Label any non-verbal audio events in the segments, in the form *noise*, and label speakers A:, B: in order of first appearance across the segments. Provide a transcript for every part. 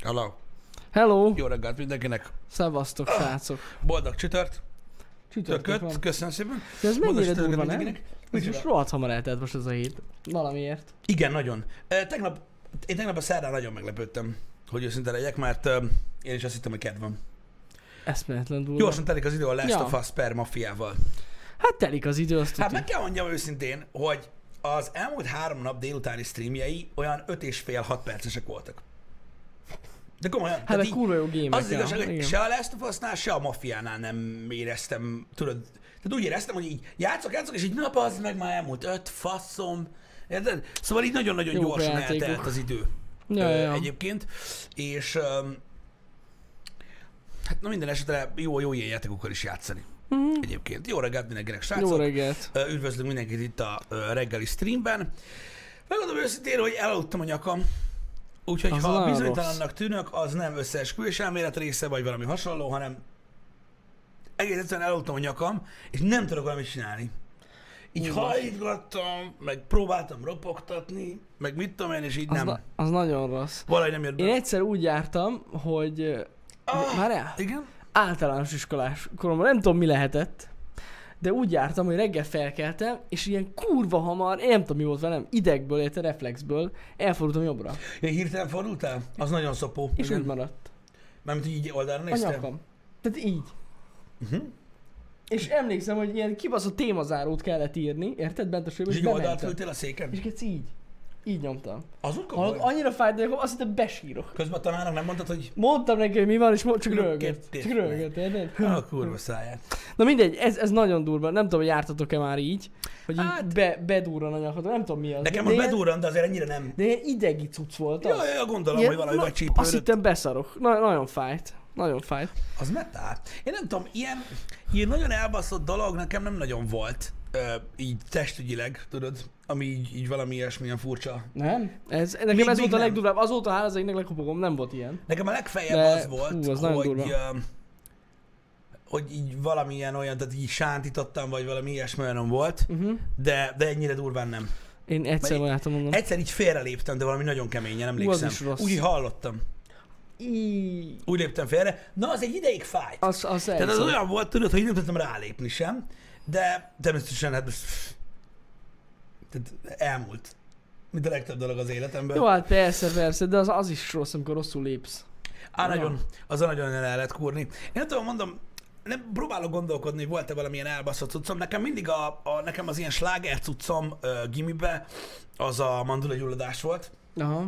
A: Hello.
B: Hello!
A: Jó reggelt mindenkinek.
B: Szevasztok, srácok!
A: Boldog csütört.
B: Csütörtök van.
A: Tököt. Köszönöm szépen.
B: De ez
A: Boldog
B: mennyire
A: csütörtöket
B: durva, nem?
A: mindenkinek.
B: Ez
A: Micsoda?
B: most rohadt hamar eltelt most ez a hét. Valamiért.
A: Igen, nagyon. Ö, Tegnap, én tegnap a szerdán nagyon meglepődtem, hogy őszinte legyek, mert ö, én is azt hittem, hogy kedvem.
B: Eszméletlen durva.
A: Gyorsan telik az idő a Last
B: Ja.
A: of Us per maffiával.
B: Hát telik az idő, azt
A: Hát
B: tudjuk.
A: meg kell mondjam őszintén, hogy az elmúlt három nap délutáni streamjei olyan öt és fél hat percesek voltak. De komolyan.
B: Hát
A: tehát
B: meg
A: így-
B: kurva jó gémek.
A: Az az igazság,
B: ja.
A: hogy
B: Igen.
A: se a Last of Us-nál, se a Mafiánál nem éreztem, tudod, tehát úgy éreztem, hogy így játszok, játszok, és így na bazd meg már elmúlt öt, faszom, érted? Szóval így nagyon-nagyon
B: Jók a
A: gyorsan
B: játékok.
A: eltelt az idő
B: Ja,
A: ö,
B: ja, ja.
A: egyébként, és öm, hát na minden esetre jó, jó ilyen játékokkal is játszani
B: Mhm.
A: egyébként. Jó reggelt mindenkinek,
B: Jó
A: srácok!
B: reggelt.
A: Ö, Üdvözlünk mindenkit itt a ö, reggeli streamben. Megmondom őszintén, hogy elaludtam a nyakam. Úgyhogy
B: Az
A: ha
B: nagyon
A: bizonytalannak tűnök, az nem összeesküvés elmélet része, vagy valami hasonló, hanem egész egyszerűen elaludtam a nyakam, és nem tudok valamit csinálni. Így
B: Ú,
A: hajtgattam, meg próbáltam ropogtatni, meg mit tudom én, és így
B: Az,
A: nem.
B: na- az nagyon rossz.
A: Valahogy nem jött be.
B: Én egyszer úgy jártam, hogy...
A: Ah,
B: Már el?
A: Igen?
B: általános iskolás koromban, nem tudom mi lehetett, de úgy jártam, hogy reggel felkeltem, és ilyen kurva hamar, én nem tudom mi volt velem, idegből, illetve reflexből, elfordultam jobbra,
A: Ja, hirtelen fordultál? Az nagyon szopó.
B: és
A: Igen.
B: úgy maradt.
A: Mármint így oldalra
B: A
A: néztem. Mhm.
B: nyakam. Tehát így. És emlékszem, hogy ilyen kibaszott témazárót kellett írni, érted? Bent a sőbe,
A: És
B: és
A: így oldalt
B: bementem.
A: ültél a széken?
B: És kec így. Így nyomtam.
A: Az úgy
B: Hallod, annyira fájt, hogy azt hittem besírok.
A: Közben a tanárnak nem mondtad, hogy
B: Mondtam neki, hogy mi van, és mo- csak rögött.
A: Rökkentés.
B: Csak rögött, érted?
A: a kurva száját.
B: Na mindegy, ez, ez nagyon durva. Nem tudom, hogy jártatok-e már így, hogy
A: Hát-
B: így be, bedurran a nyakadra. Nem tudom mi az.
A: Nekem
B: de
A: most
B: ilyen-
A: bedurran, de azért ennyire nem.
B: De ilyen idegi cucc volt az.
A: Jaj, jaj, gondolom,
B: Ilyen-
A: hogy valami
B: na,
A: vagy
B: Azt
A: csípődött.
B: hittem beszarok. Na, nagyon fájt. Nagyon fájt.
A: Az metál. Én nem tudom, ilyen, ilyen nagyon elbaszott dolog nekem nem nagyon volt. Ö, így testügyileg, tudod, ami így, így valami ilyesmilyen furcsa.
B: Nem? Ez, nekem
A: Még-
B: ez
A: még
B: volt a
A: nem.
B: legdurvább. Azóta hála az egyiknek lekopogom, nem volt ilyen.
A: Nekem a legfeljebb
B: De,
A: az volt,
B: fú, az nagyon
A: hogy,
B: durva.
A: ö, hogy így valamilyen olyan, tehát így sántítottam, vagy valami ilyesmi olyan volt,
B: Uh-huh.
A: de, de ennyire durván nem.
B: Én egyszer
A: Vagy-
B: voltam mondom.
A: Egyszer így félreléptem, de valami nagyon keményen emlékszem.
B: is rossz.
A: Úgy így hallottam.
B: Í-
A: Úgy léptem félre. Na, az egy ideig fájt.
B: Az, az
A: Tehát az
B: elhiszem.
A: olyan volt, tudod, hogy nem tudtam rálépni sem, de természetesen hát most tehát elmúlt. Mint a legtöbb dolog az életemben.
B: Jó, hát persze, persze, de az, az is rossz, amikor rosszul lépsz.
A: Á,
B: Jó.
A: nagyon, azon nagyon el lehet kúrni. Én nem tudom, mondom, nem próbálok gondolkodni, hogy volt-e valamilyen elbaszott cuccom. Nekem mindig a, a nekem az ilyen sláger cuccom ö, gimibe, az a mandula gyulladás volt.
B: Aha.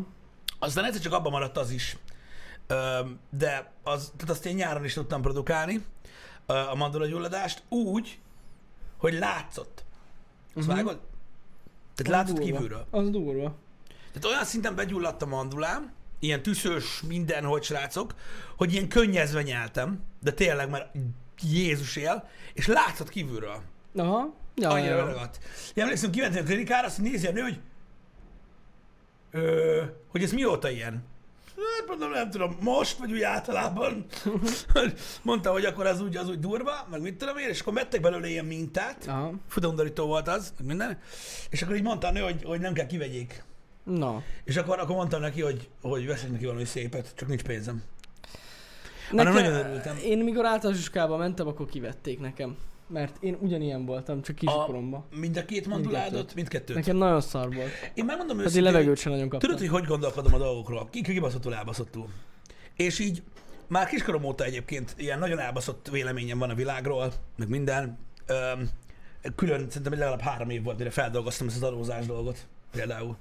A: Aztán egyszer csak abban maradt az is. Ö, de az, tehát azt én nyáron is tudtam produkálni, ö, a mandula gyulladást, úgy, hogy látszott. Azt
B: Mhm.
A: uh-huh. vágod?
B: Az
A: Tehát látszott
B: durva.
A: kívülről.
B: Az durva.
A: Tehát olyan szinten begyulladt a mandulám, ilyen tüszös mindenhogy srácok, hogy ilyen könnyezve nyeltem, de tényleg már Jézus él, és látszott kívülről.
B: Aha. Ja,
A: Annyira
B: ja, ja.
A: ragadt. Én emlékszem, kimentem a klinikára, azt nézi a nő, hogy ö, hogy ez mióta ilyen? Hát mondom, nem tudom, most, vagy úgy általában. Mondta, hogy akkor az úgy, az úgy durva, meg mit tudom én, és akkor vettek belőle ilyen mintát.
B: Aha.
A: Futamdarító volt az, meg minden. És akkor így mondta a nő, hogy, hogy nem kell kivegyék.
B: Na.
A: És akkor, akkor mondtam neki, hogy, hogy veszek neki valami szépet, csak nincs pénzem.
B: Nekem,
A: Hanem nagyon örültem.
B: Én mikor általános iskolában mentem, akkor kivették nekem. Mert én ugyanilyen voltam, csak kiskoromban. A...
A: Mind a két manduládot,
B: Mindkettőt.
A: mindkettőt.
B: Nekem nagyon szar volt.
A: Én megmondom
B: Tehát én
A: őszintén, hogy
B: levegőt sem nagyon kaptam.
A: tudod, hogy hogy gondolkodom a dolgokról? Ki ki kibaszottul elbaszottul. És így már kiskorom óta egyébként ilyen nagyon elbaszott véleményem van a világról, meg minden. Öm, külön szerintem legalább három év volt, mire feldolgoztam ezt az adózás dolgot. Például.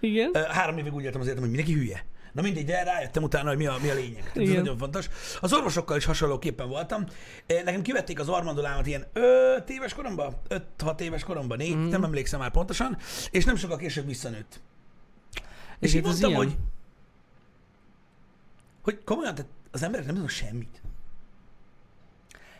B: Igen.
A: Ö, három évig úgy éltem az életem, hogy mindenki hülye. Na mindegy, de rájöttem utána, hogy mi a, mi a lényeg. Tehát Ez
B: Igen.
A: nagyon fontos. Az orvosokkal is hasonlóképpen voltam. Eh, Nekem kivették az armandulámat ilyen 5 éves koromban, 5-6 éves koromban, 4,
B: Mhm.
A: mm. nem emlékszem már pontosan, és nem sokkal később visszanőtt. És így
B: Egyébként hát ez
A: mondtam,
B: ilyen.
A: hogy, hogy komolyan, tehát az emberek nem tudnak semmit.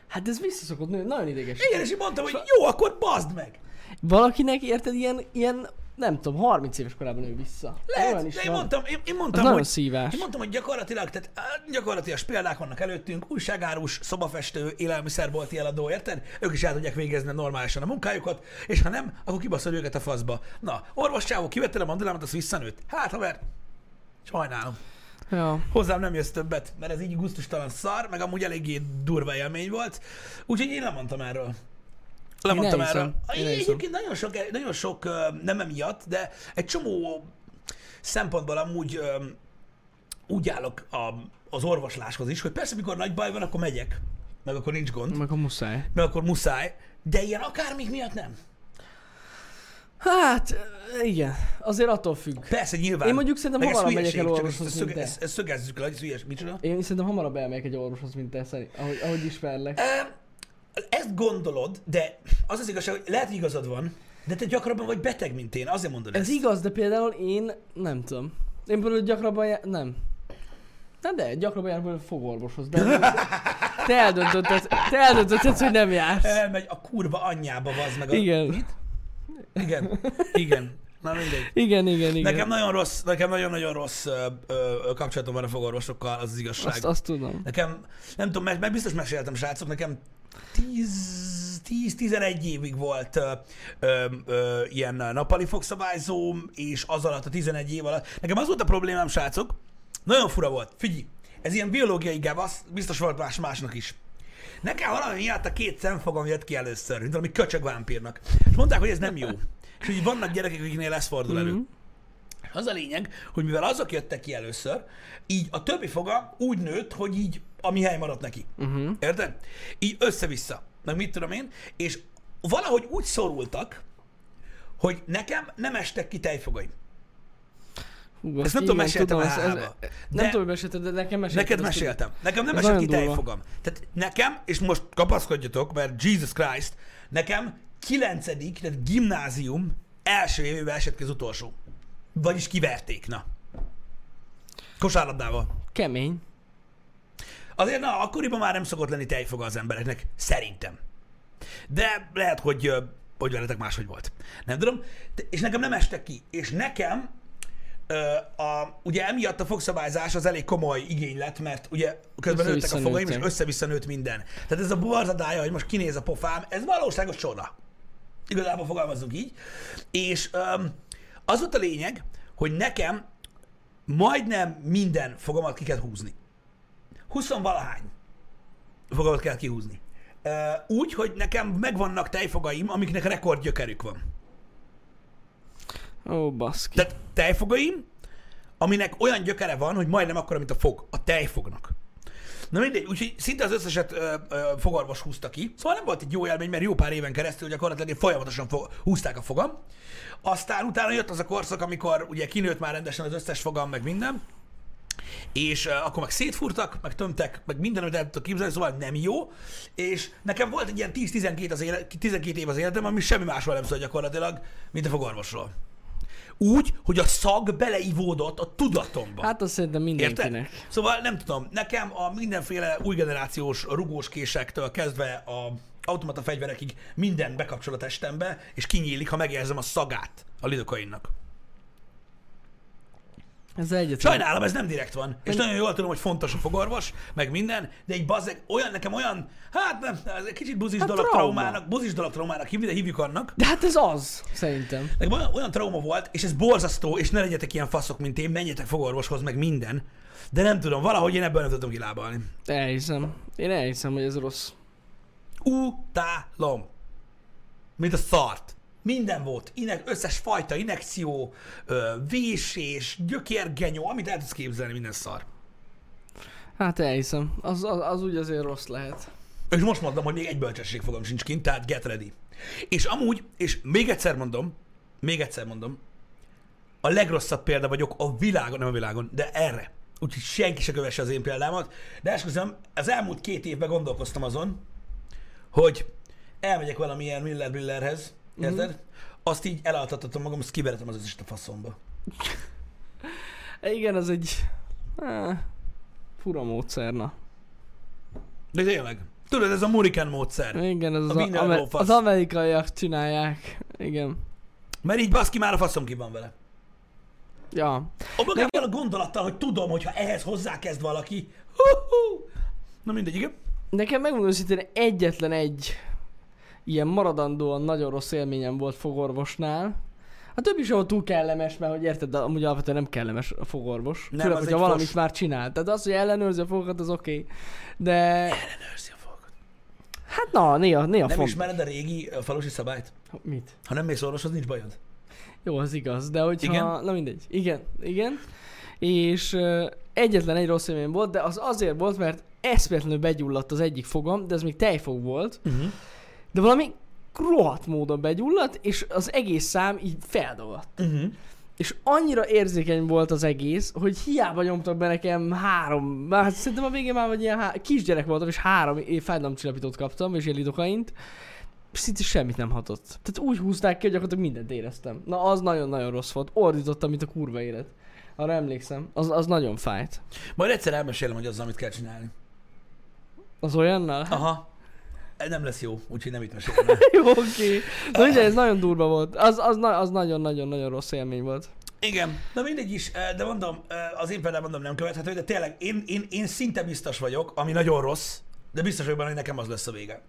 B: Hát ez visszaszokott nő, nagyon ideges.
A: Igen, és így mondtam,
B: Szóval-
A: hogy jó, akkor bazd meg.
B: Valakinek érted ilyen, ilyen, nem tudom, 30 éves korában ő vissza. Olyan
A: Lehet,
B: is
A: Hát, de én
B: van.
A: mondtam, én, én
B: Az
A: mondtam,
B: nagyon
A: hogy
B: szívás.
A: Én mondtam, hogy gyakorlatilag, tehát á, gyakorlatilag példák vannak előttünk, újságárus, szobafestő, élelmiszerbolti eladó, érted? Ők is el tudják végezni normálisan a munkájukat, és ha nem, akkor kibaszol őket a faszba. Na, orvoscsávó, kivettél a mandulámat, azt visszanőtt. Hát, haver, sajnálom.
B: Ja.
A: Hozzám nem jössz többet, mert ez így gusztustalan szar, meg amúgy eléggé durva élmény volt. Úgyhogy én lemondtam erről. Lemondtam
B: Én elhiszem.
A: erről.
B: Én
A: Én
B: elhiszem.
A: egyébként nagyon sok, nagyon sok ö, nem emiatt, de egy csomó szempontból amúgy ö, úgy állok a, az orvosláshoz is, hogy persze, mikor nagy baj van, akkor megyek, meg akkor nincs gond,
B: Meg a muszáj.
A: meg akkor muszáj, de ilyen akármik miatt nem.
B: Hát, igen. Azért attól függ.
A: Persze, nyilván.
B: Én mondjuk szerintem
A: Meg ez
B: hamarabb megyek
A: hülyeség,
B: el
A: csak
B: orvoshoz,
A: ezt- ezt szöge-
B: mint te.
A: ezt- ezt Szögezzük le, hogy ez hülyes. Micsoda?
B: Én szerintem hamarabb elmegyek egy orvoshoz, mint te, szerint, ahogy, ahogy ismerlek.
A: Ezt gondolod, de az az igazság, hogy lehet, hogy igazad van, de te gyakrabban vagy beteg, mint én, azért mondod
B: Ez
A: ezt.
B: igaz, de például én nem tudom. Én például gyakrabban jár... Nem. Na de, gyakrabban jár például fogorvoshoz. De
A: *laughs*
B: te eldöntötted, te eldöntötted, hogy nem jársz.
A: Elmegy a kurva anyjába, az meg a...
B: Igen.
A: Igen. Igen. Na mindegy.
B: Igen, igen, igen.
A: Nekem nagyon rossz, nekem nagyon-nagyon rossz ö, ö, ö, kapcsolatom van a fogorvosokkal, az az igazság.
B: azt, azt tudom.
A: Nekem, nem tudom, meg, meg biztos meséltem, srácok, nekem 10-11 évig volt ö, ö, ö, ilyen nappali fogszabályzóm, és az alatt a 11 év alatt. Nekem az volt a problémám, srácok, nagyon fura volt. Figyelj, ez ilyen biológiai gábasz, biztos volt más másnak is. Nekem valami miatt a két szemfogam jött ki először, mint valami köcsög vámpírnak. És mondták, hogy ez nem jó. És hogy vannak gyerekek, akiknél ez fordul elő. Mm-hmm. Az a lényeg, hogy mivel azok jöttek ki először, így a többi foga úgy nőtt, hogy így a mi hely maradt neki.
B: Mhm.
A: Uh-huh. Érted? Így össze-vissza. Meg mit tudom én. És valahogy úgy szorultak, hogy nekem nem estek ki tejfogaim.
B: Hú,
A: Ezt nem tudom, meséltem
B: tudom,
A: el
B: ez- ez-
A: hába.
B: Nem
A: De-
B: tudom, hogy mesélted, de nekem mesélted.
A: Neked
B: azt
A: meséltem. Nekem nem
B: Ez
A: esett ki
B: nagyon durva.
A: tejfogam. Tehát nekem, és most kapaszkodjatok, mert Jesus Christ, nekem kilencedik, tehát gimnázium első évében esett ki az utolsó. Vagyis kiverték, na. Kosárlabdával.
B: tudom. Kemény.
A: Azért na, akkoriban már nem szokott lenni tejfoga az embereknek, szerintem. De lehet, hogy, ö, hogy veletek máshogy volt. Nem tudom. De- És nekem nem estek ki. És nekem ö, a, ugye emiatt a fogszabályzás az elég komoly igény lett, mert ugye közben nőttek a
B: Össze-vissza
A: fogaim, és
B: nőttek.
A: össze-vissza nőtt minden. Tehát ez a borzadája, hogy most kinéz a pofám, ez valóságos csoda. Igazából fogalmazunk így. És öm, az volt a lényeg, hogy nekem majdnem minden fogamat ki kell húzni. 20 valahány fogamat kell kihúzni. Ö, Úgy, hogy nekem megvannak tejfogaim, amiknek rekordgyökerük van.
B: Ó, baszki.
A: Tehát tejfogaim, aminek olyan gyökere van, hogy majdnem akkora, mint a fog. A tejfognak. Na mindegy, úgyhogy szinte az összeset ö, ö, fogorvos húzta ki. Szóval nem volt egy jó élmény, mert jó pár éven keresztül gyakorlatilag én folyamatosan fo- húzták a fogam. Aztán utána jött az a korszak, amikor ugye kinőtt már rendesen az összes fogam, meg minden. És uh, akkor meg szétfúrtak, meg tömtek, meg minden, amit el tudtok képzelni, szóval nem jó. És nekem volt egy ilyen 10-12 az éle, 12 év az életem, ami semmi másról nem szól gyakorlatilag, mint a fogorvosról. Úgy, hogy a szag beleivódott a tudatomba.
B: Hát azt szerintem mindenkinek.
A: Érted? Szóval nem tudom, nekem a mindenféle új generációs rugós késektől kezdve a automata fegyverekig minden bekapcsol a testembe, és kinyílik, ha megérzem a szagát a lidokainnak.
B: Ez egyetlen.
A: Sajnálom, ez nem direkt van. És nagyon jól tudom, hogy fontos a fogorvos, meg minden, de egy bazeg, olyan, nekem olyan, hát nem, ez egy kicsit buzis
B: Hát
A: dolog
B: trauma.
A: traumának, buzis dolog traumának hívni, de hívjuk annak.
B: De hát ez az, szerintem.
A: Nekem olyan, olyan trauma volt, és ez borzasztó, és ne legyetek ilyen faszok, mint én, menjetek fogorvoshoz, meg minden. De nem tudom, valahogy én ebből nem tudtam kilábalni.
B: Elhiszem. Én elhiszem, hogy ez rossz.
A: utálom. Mint a szart. Minden volt. Inek, összes fajta inekció, ö, vésés, gyökérgenyó, amit el tudsz képzelni, minden szar.
B: Hát elhiszem. Az, az, az úgy azért rossz lehet.
A: És most mondom, hogy még egy bölcsesség fogom sincs kint, tehát get ready. És amúgy, és még egyszer mondom, még egyszer mondom, a legrosszabb példa vagyok a világon, nem a világon, de erre. Úgyhogy senki se kövesse az én példámat. De esküszöm, az elmúlt két évben gondolkoztam azon, hogy elmegyek valamilyen Miller Millerhez, érted? Azt így elaltatom magam, azt kiveretem az összeset a faszomba.
B: Igen, az egy... Eh, fura módszer, na.
A: De tényleg. Tudod, ez a Murikán módszer.
B: Igen, ez az,
A: A
B: a,
A: minden
B: amer-
A: lófasz.
B: az amerikaiak csinálják. Igen.
A: Mert így baszki már a faszom ki van vele.
B: Ja.
A: A magával a gondolattal, hogy tudom, hogy ha ehhez hozzákezd valaki, hú-hú. Na mindegy, igen.
B: Nekem megmondom őszintén egyetlen egy ilyen maradandóan nagyon rossz élményem volt fogorvosnál, A többi sem volt túl kellemes, mert hogy érted, de amúgy alapvetően nem kellemes a fogorvos.
A: Nem,
B: Nem, Főleg,
A: az
B: hogyha
A: egy
B: valamit
A: fos.
B: már csinál. Tehát az, hogy ellenőrzi a fogokat, az oké. Okay. De
A: Ellenőrzi a fogat.
B: hát na, néha, néha
A: Nem
B: font.
A: ismered a régi ö, falusi szabályt?
B: Mit?
A: Ha nem mész orvoshoz, nincs bajod.
B: Jó, az igaz, de hogyha...
A: Igen?
B: Igen? Na mindegy. Igen, igen. És ö, egyetlen egy rossz élmény volt, de az azért volt, mert eszméletlenül begyulladt az egyik fogam, de ez még tejfog volt,
A: Uh-huh.
B: de valami rohadt módon begyulladt, és az egész szám így feldagadt.
A: Uh-huh.
B: És annyira érzékeny volt az egész, hogy hiába nyomtak be nekem három, már hát szerintem a végén már vagy ilyen há- kisgyerek voltam, és három é- fájdalomcsillapítót kaptam, és ilyen lidokaint, és szinte semmit nem hatott. Tehát úgy húzták ki, hogy gyakorlatilag mindent éreztem. Na az nagyon-nagyon rossz volt, ordítottam, mint a kurva élet. Arra emlékszem, az, az nagyon fájt.
A: Majd egyszer elmesélem, hogy azzal mit kell csinálni.
B: Az olyannal?
A: Aha. Ez E, Nem lesz jó, úgyhogy nem itt mesélem el.
B: *laughs* Jó, oké. Na mindegy, ez nagyon durva volt. Az, az, na- az nagyon-nagyon-nagyon rossz élmény volt.
A: *laughs* Igen, na mindegy is, eh, de mondom, eh, az én például mondom nem követhető, de tényleg én, én, én szinte biztos vagyok, ami nagyon rossz, de biztos vagyok benne, hogy nekem az lesz a vége.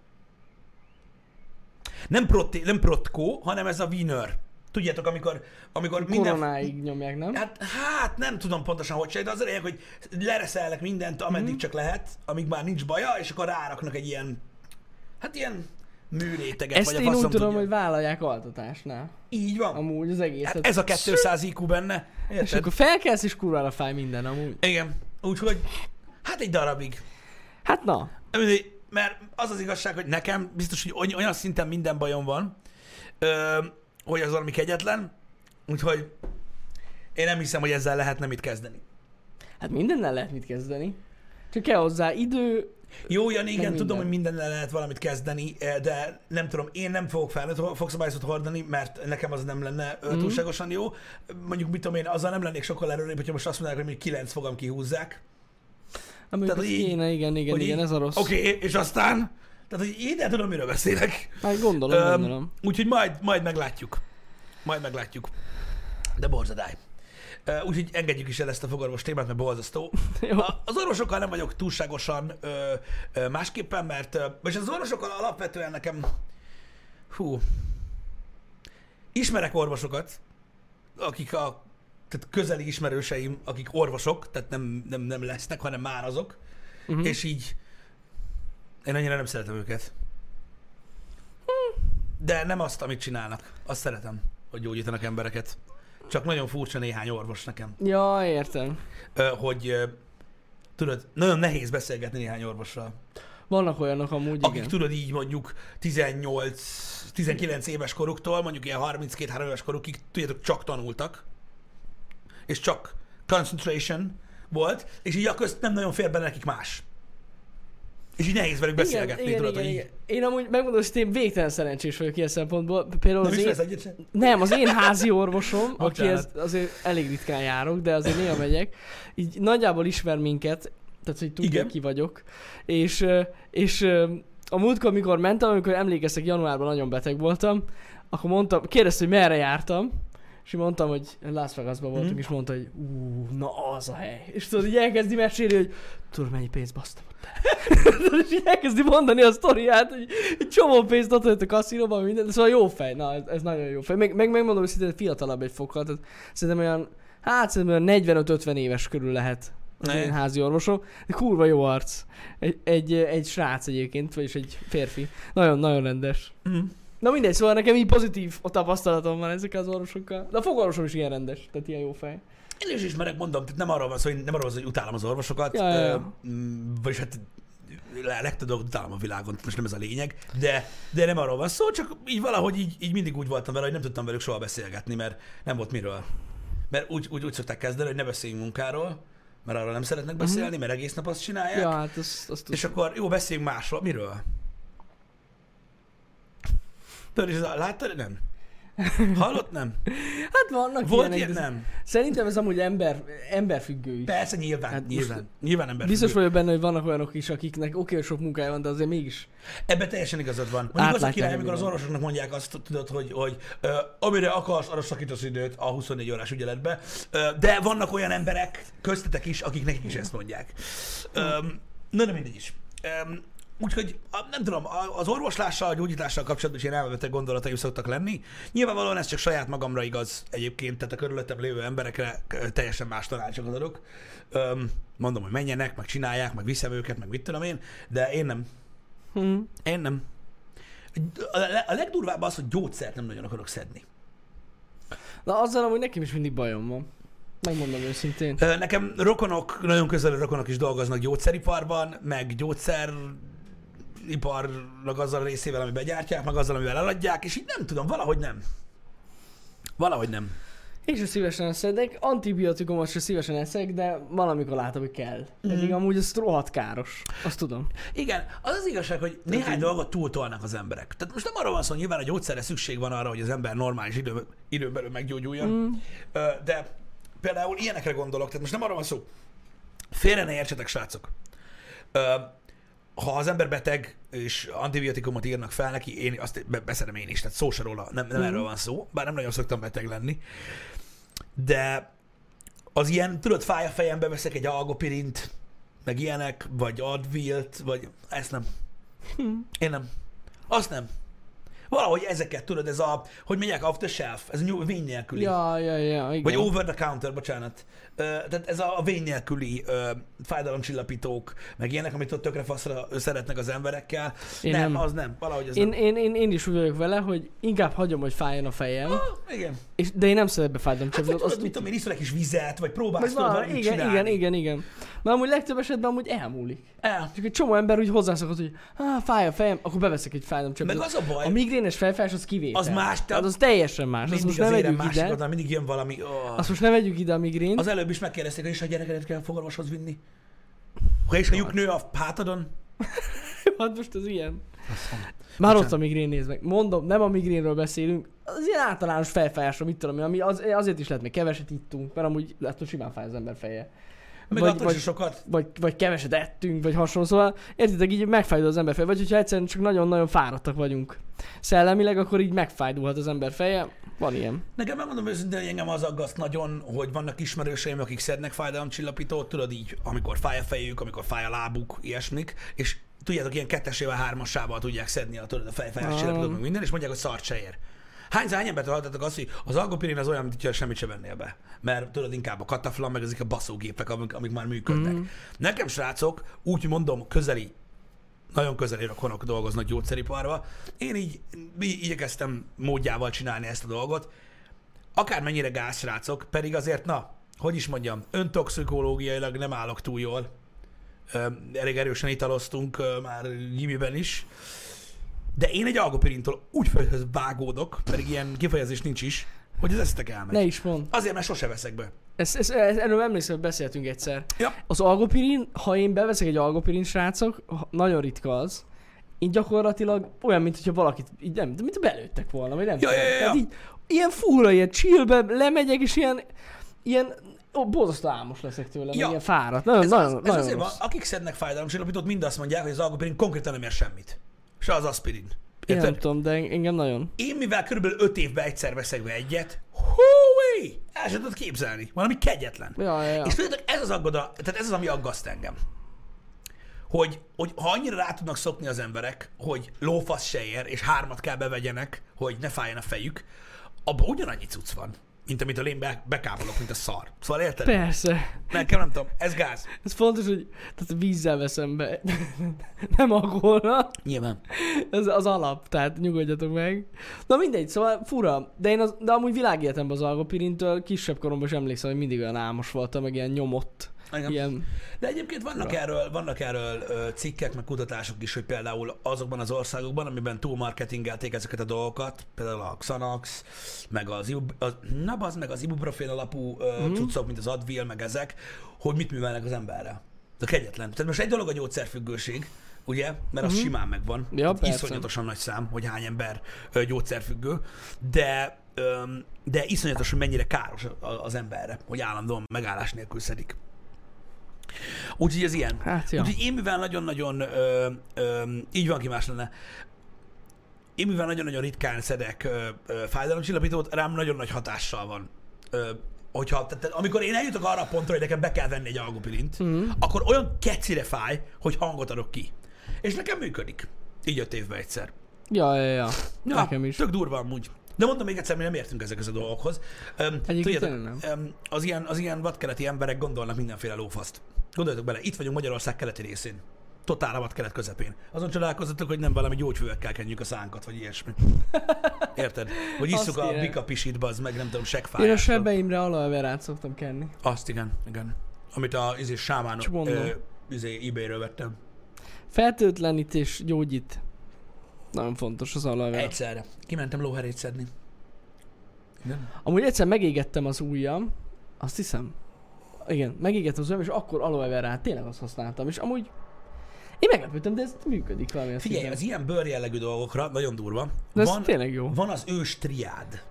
A: Nem, proti, nem protkó, hanem ez a winner. Tudjátok, amikor, amikor minden...
B: Koronáig nyomják, nem?
A: Hát, hát nem tudom pontosan hogy se, de az a lényeg, hogy lereszelnek mindent,
B: Mhm.
A: ameddig mm. csak lehet, amíg már nincs baja, és akkor ráraknak egy ilyen, hát ilyen műréteget,
B: Ezt
A: vagy
B: én
A: a
B: úgy
A: faszom
B: tudom,
A: tudja.
B: hogy vállalják altatásnál.
A: Így van.
B: Amúgy az egészet.
A: Hát ez a 200 IQ benne. Érted?
B: És akkor felkelsz, és kurvára fáj minden amúgy.
A: Igen, úgyhogy hát egy darabig.
B: Hát na,
A: Mindegy, Mert az az igazság, hogy nekem biztos, hogy oly- olyan szinten minden bajom van, ö, hogy az valami kegyetlen, úgyhogy én nem hiszem, hogy ezzel lehetne mit kezdeni.
B: hát mindennel lehet mit kezdeni. Csak kell hozzá idő,
A: Jó, Jani, igen,
B: minden.
A: tudom, hogy mindennel lehet valamit kezdeni, eh, de nem tudom, én nem fogok felnőtt fogszabályzatot hordani, mert nekem az nem lenne
B: Mhm.
A: mm. túlságosan jó. Mondjuk, mit tudom én, azzal nem lennék sokkal előrébb, hogyha most azt mondják, hogy még 9 fogam kihúzzák.
B: ami
A: Tehát,
B: Tehát
A: hogy így-
B: kéne, igen, igen,
A: Hogy
B: igen,
A: így-
B: ez a rossz.
A: Oké, okay, és aztán? Tehát, hogy én nem tudom, miről beszélek.
B: Hát gondolom,
A: Öm,
B: gondolom.
A: Úgyhogy majd, majd meglátjuk. Majd meglátjuk. De borzadály. Ö, Úgyhogy engedjük is el ezt a fogorvos témát, mert borzasztó.
B: Jó.
A: A- Az orvosokkal nem vagyok túlságosan ö, ö, másképpen, mert ö, és az orvosokkal alapvetően nekem, hú, ismerek orvosokat, akik a tehát közeli ismerőseim, akik orvosok, tehát nem, nem, nem lesznek, hanem már azok,
B: Mhm.
A: uh-huh. és így én annyira nem szeretem őket. De nem azt, amit csinálnak. Azt szeretem, hogy gyógyítanak embereket. Csak nagyon furcsa néhány orvos nekem,
B: Ja, értem.
A: Ö, hogy ö, tudod, nagyon nehéz beszélgetni néhány orvossal.
B: Vannak olyanok amúgy,
A: Akik
B: igen.
A: tudod így mondjuk 18-19 éves koruktól, mondjuk ilyen 32-3 éves korukig, tudjátok, csak tanultak, és csak concentration volt, és így a közt nem nagyon fér bele nekik más. És így nehéz velük beszélgetni,
B: igen,
A: tudod,
B: igen,
A: hogy
B: igen.
A: így.
B: Én amúgy megmondom, hogy én végtelen szerencsés vagyok ilyen szempontból. Például
A: Nem
B: az
A: is
B: én...
A: lesz egyet sem?
B: Nem, az én házi orvosom, aki
A: Bocsánat.
B: ez, azért elég ritkán járok, de azért néha megyek, így nagyjából ismer minket, tehát hogy tudja,
A: Igen.
B: Igen. ki vagyok. És, ö, és ö, a múltkor, amikor mentem, amikor emlékeztek, januárban nagyon beteg voltam, akkor mondtam, kérdezte, hogy merre jártam, és így mondtam, hogy Las Vegasban voltunk,
A: Mhm.
B: mm. és mondta, hogy ú, na az a hely. És tudod, így elkezdi mesélni, hogy tudod, mennyi pénzt basztam ott el. Tudod, és így elkezdi mondani a sztoriát, hogy egy csomó pénzt ott hagyott a kaszinóban, minden, szóval jó fej, na ez, ez nagyon jó fej. Meg, meg megmondom, hogy szinte fiatalabb egy fokkal, tehát szerintem olyan, hát szerintem olyan 45-50 éves körül lehet az
A: Ne.
B: én házi orvosom. De kurva jó arc. Egy, egy, egy srác egyébként, vagyis egy férfi. Nagyon, nagyon rendes.
A: Mm.
B: Na mindegy, szóval nekem így pozitív a tapasztalatom van ezekkel az orvosokkal. De a fogorvosom is ilyen rendes, tehát ilyen jó fej.
A: Én is ismerek, mondom, tehát nem arról van szó, hogy, nem arról van szó, hogy utálom az orvosokat,
B: Ja, ja, ja.
A: ö, mm, vagyis hát le- legtöbb dolgot utálom a világon, most nem ez a lényeg, de, de nem arról van szó, csak így valahogy így, így mindig úgy voltam vele, hogy nem tudtam velük soha beszélgetni, mert nem volt miről. Mert úgy, úgy, úgy szokták kezdeni, hogy ne beszéljünk munkáról, mert arról nem szeretnek beszélni, mert egész nap azt csinálják,
B: Mhm. Ja, hát azt, azt tudom.
A: és akkor jó, beszéljünk másról. Miről? Tudod, és ez a- Láttad? Nem. Hallott?
B: *laughs*
A: Nem.
B: Hát vannak
A: Volt
B: ilyenek,
A: ilyen?
B: de-
A: Nem.
B: Szerintem ez amúgy ember, emberfüggő is.
A: Persze, nyilván,
B: Hát most-
A: nyilván. Nyilván ember.
B: Biztos vagyok benne, hogy vannak olyanok is, akiknek oké, hogy sok munkája van, de azért mégis.
A: Ebben teljesen igazad van. Mondjuk az a
B: Átlátják
A: király, amikor az
B: minden.
A: orvosoknak mondják azt, tudod, hogy, hogy ö, amire akarsz, arra szakítasz időt a 24 órás ügyeletbe, ö, de vannak olyan emberek, köztetek is, akik nekik is ezt mondják. Ö, na, de mindegy is. Ö, Úgyhogy a- nem tudom, a- az orvoslással, a gyógyítással kapcsolatban is ilyen elmebeteg gondolataim szoktak lenni. Nyilvánvalóan ez csak saját magamra igaz egyébként, tehát a körülöttem lévő emberekre ö, teljesen más tanácsokat adok. Öm, mondom, hogy menjenek, meg csinálják, meg viszem őket, meg mit tudom én, de én nem.
B: Hm.
A: Én nem. A, le- a legdurvább az, hogy gyógyszert nem nagyon akarok szedni.
B: Na azzal amúgy nekem is mindig bajom van. Megmondom őszintén.
A: Ö, Nekem rokonok, nagyon közeli rokonok is dolgoznak gyógyszeriparban, meg gyógyszeriparnak azzal a részével, ami begyártják, meg azzal, amivel eladják, és így nem tudom, valahogy nem. Valahogy nem.
B: Én sem szívesen eszedek, antibiotikumot sem szívesen eszek, de valamikor látom, hogy kell. Pedig amúgy ez rohadt káros. Azt tudom.
A: Igen, az az igazság, hogy néhány dolgot túltolnak az emberek. Tehát most nem arról van szó, hogy nyilván a gyógyszerre szükség van arra, hogy az ember normális idő, időn belül meggyógyuljon, mm. de például ilyenekre gondolok, tehát most nem arról van szó, félre ne értsetek, srácok. Ö, ha az ember beteg, és antibiotikumot írnak fel neki, én azt be- beszedem én is, tehát szó se róla, nem, nem mm. erről van szó, bár nem nagyon szoktam beteg lenni, de az ilyen, tudod, fáj a fejembe, veszek egy algopirint, meg ilyenek, vagy advilt, vagy ezt nem. Én nem. Azt nem. Valahogy ezeket, tudod, ez a, hogy mondják, off the shelf, ez a vény nélküli.
B: Ja, ja, ja, igen.
A: Vagy over the counter, bocsánat. Ö, tehát ez a a vény nélküli ö, fájdalomcsillapítók, meg ilyenek, amit ott tökre faszra szeretnek az emberekkel.
B: Én
A: nem,
B: nem.
A: az nem. Valahogy az
B: én,
A: nem.
B: én, én, én, is úgy vagyok vele, hogy inkább hagyom, hogy fájjon a fejem,
A: Ah, igen.
B: és, de én nem szedek be
A: Hát,
B: fájdalomcsillapítót.
A: vagy
B: azt
A: tudod, mit tudom én, iszol egy kis vizet, vagy próbálsz
B: Vagy
A: tudod
B: van,
A: valamit
B: igen,
A: csinálni.
B: igen, igen, igen. Mert amúgy legtöbb esetben amúgy elmúlik.
A: El.
B: Csak egy csomó ember úgy hozzászokott, hogy ah, fáj a fejem, akkor beveszek egy
A: Meg
B: fájdalomcsillapítót.
A: az a baj,
B: A migrénes fejfájás az kivétel.
A: Az más, te-
B: te... az teljesen más. Azt
A: mindig
B: most
A: az
B: nem
A: érem
B: vegyük
A: másik
B: ide.
A: oldalon, mindig jön valami. Oh.
B: Azt most nem vegyük ide a migrént.
A: Az előbb is megkérdezték, hogy is a gyerekedet kell fogorvoshoz vinni. Ha és a lyuk nő a hátadon,
B: Hát most az ilyen. Már ott a migrén néz meg. Mondom, nem a migrénről beszélünk, az ilyen általános felfájásra, mit tudom én, ami az, azért is lehet, mert keveset ittunk, mert amúgy attól simán fáj az ember feje.
A: meg
B: vagy,
A: attól
B: vagy,
A: se sokat.
B: vagy, vagy, keveset ettünk, vagy hasonló, szóval értitek, így megfájdul az ember feje, vagy hogyha egyszerűen csak nagyon-nagyon fáradtak vagyunk szellemileg, akkor így megfájdulhat az ember feje. Van ilyen.
A: Nekem megmondom őszintén, hogy engem az aggaszt nagyon, hogy vannak ismerőseim, akik szednek fájdalomcsillapítót, tudod így, amikor fáj a fejük, amikor fáj a lábuk, ilyesmik, és tudjátok, ilyen kettesével, hármasával tudják szedni a, tudod, a fejfájás
B: Ah.
A: csillapítót, meg minden, és mondják, hogy szart se ér. Hány, hány embert hallottatok azt, hogy az algopirin az olyan, mintha semmit sem vennél be. Mert tudod, inkább a kataflan, meg ezek a baszógépek, amik, amik már működnek. Mm. Nekem, srácok, úgy mondom, közeli nagyon közeli rokonok dolgoznak gyógyszeriparba. Én így, így igyekeztem módjával csinálni ezt a dolgot. Akármennyire gázsrácok, pedig azért, na, hogy is mondjam, öntoxikológiailag nem állok túl jól. Ö, elég erősen italoztunk ö, már gimiben is. De én egy algopirintól úgy földhöz vágódok, pedig ilyen kifejezés nincs is, hogy az esztek elmegy.
B: Ne is mond.
A: Azért, mert sose veszek be.
B: Ez, ez, ez, erről emlékszem, hogy beszéltünk egyszer.
A: Ja.
B: Az algopirin, ha én beveszek egy algopirin, srácok, ha- nagyon ritka az, én gyakorlatilag olyan, mint hogyha valakit, így nem, mint belőttek volna, vagy nem
A: Ja,
B: tudom.
A: ja, ja, ja.
B: Tehát így, ilyen fúra, ilyen chillbe lemegyek, és ilyen, ilyen ó, borzasztó álmos leszek tőle,
A: Ja.
B: ja. ilyen fáradt. Nagyon,
A: Ez,
B: nagyon,
A: az, ez
B: nagyon
A: azért van,
B: rossz.
A: akik szednek fájdalomcsillapítót, mind azt mondják, hogy az algopirin konkrétan nem ér semmit. Se az aspirin.
B: Én nem
A: Érted?
B: tudom, de engem nagyon.
A: Én mivel körülbelül 5 évben egyszer veszek be egyet, húi, el sem tudod képzelni. Valami kegyetlen.
B: Ja, ja, ja.
A: És tudjátok, ez az aggoda, tehát ez az, ami aggaszt engem. Hogy, hogy ha annyira rá tudnak szokni az emberek, hogy lófasz se ér, és hármat kell bevegyenek, hogy ne fájjon a fejük, abban ugyanannyi cucc van, mint amit a én be, bekápolok, mint a szar. Szóval érted?
B: Persze.
A: Nekem nem tudom, ez gáz.
B: Ez fontos, hogy tehát vízzel veszem be. *laughs* nem alkoholra.
A: Nyilván.
B: Ez az alap, tehát nyugodjatok meg. Na mindegy, szóval fura, de én az, de amúgy világéletemben az algopirintől kisebb koromban is emlékszem, hogy mindig olyan álmos voltam, meg ilyen nyomott.
A: Engem.
B: Ilyen,
A: De egyébként vannak erről, vannak erről ö, cikkek, meg kutatások is, hogy például azokban az országokban, amiben túlmarketingelték ezeket a dolgokat, például a Xanax, meg az, ibu- az na bazd, meg az ibuprofen alapú ö,
B: Mhm.
A: mm. cuccok, mint az Advil, meg ezek, hogy mit művelnek az emberrel. De kegyetlen. Tehát most egy dolog a gyógyszerfüggőség, ugye? Mert az simán megvan.
B: Mhm. Ja,
A: Tehát
B: persze.
A: iszonyatosan nagy szám, hogy hány ember ö, gyógyszerfüggő, de öm, de iszonyatos, hogy mennyire káros a- az emberre, hogy állandóan megállás nélkül szedik. Úgyhogy ez ilyen.
B: hát ja.
A: Úgyhogy én mivel nagyon-nagyon, ö, ö, így van ki más lenne, én mivel nagyon-nagyon ritkán szedek ö, ö, fájdalomcsillapítót, rám nagyon nagy hatással van. Ö, hogyha, tehát, tehát amikor én eljutok
B: Mhm.
A: arra a pontra, hogy nekem be kell venni egy algopirint, mm. akkor olyan kecire fáj, hogy hangot adok ki. És nekem működik. Így öt évben egyszer.
B: Ja, ja, ja.
A: Ja,
B: Nekem is.
A: Tök durva amúgy. De mondom még egyszer, mi nem értünk ezekhez a dolgokhoz. Öm,
B: Egyébként
A: tudjátok,
B: tényleg
A: öm, az ilyen, az ilyen vadkeleti emberek gondolnak mindenféle lófaszt. Gondoljatok bele, itt vagyunk Magyarország keleti részén. Totál a vadkelet közepén. Azon csodálkozzatok, hogy nem valami gyógyfőekkel kenjük a szánkat, vagy
B: *laughs*
A: ilyesmi. Érted? Hogy
B: Azt
A: isszuk a
B: tényleg.
A: bika pisit, az meg nem tudom,
B: Én a
A: seggfájástól.
B: sebeimre alaverát szoktam kenni.
A: Azt igen, igen. Amit a izé, sámán
B: Csak mondom.
A: ö, izé, ebay-ről vettem.
B: Fertőtlenítés gyógyít. Nagyon fontos az alavera.
A: Egyszerre. Kimentem lóherét szedni. Igen.
B: Amúgy egyszer megégettem az ujjam, azt hiszem. Igen, megégettem az ujjam, és akkor aloe verát tényleg azt használtam, és amúgy én meglepődtem, de ez működik valami. azt
A: Figyelj,
B: hiszem.
A: az ilyen bőr jellegű dolgokra nagyon durva.
B: de ez
A: van,
B: tényleg jó.
A: van az ős triád.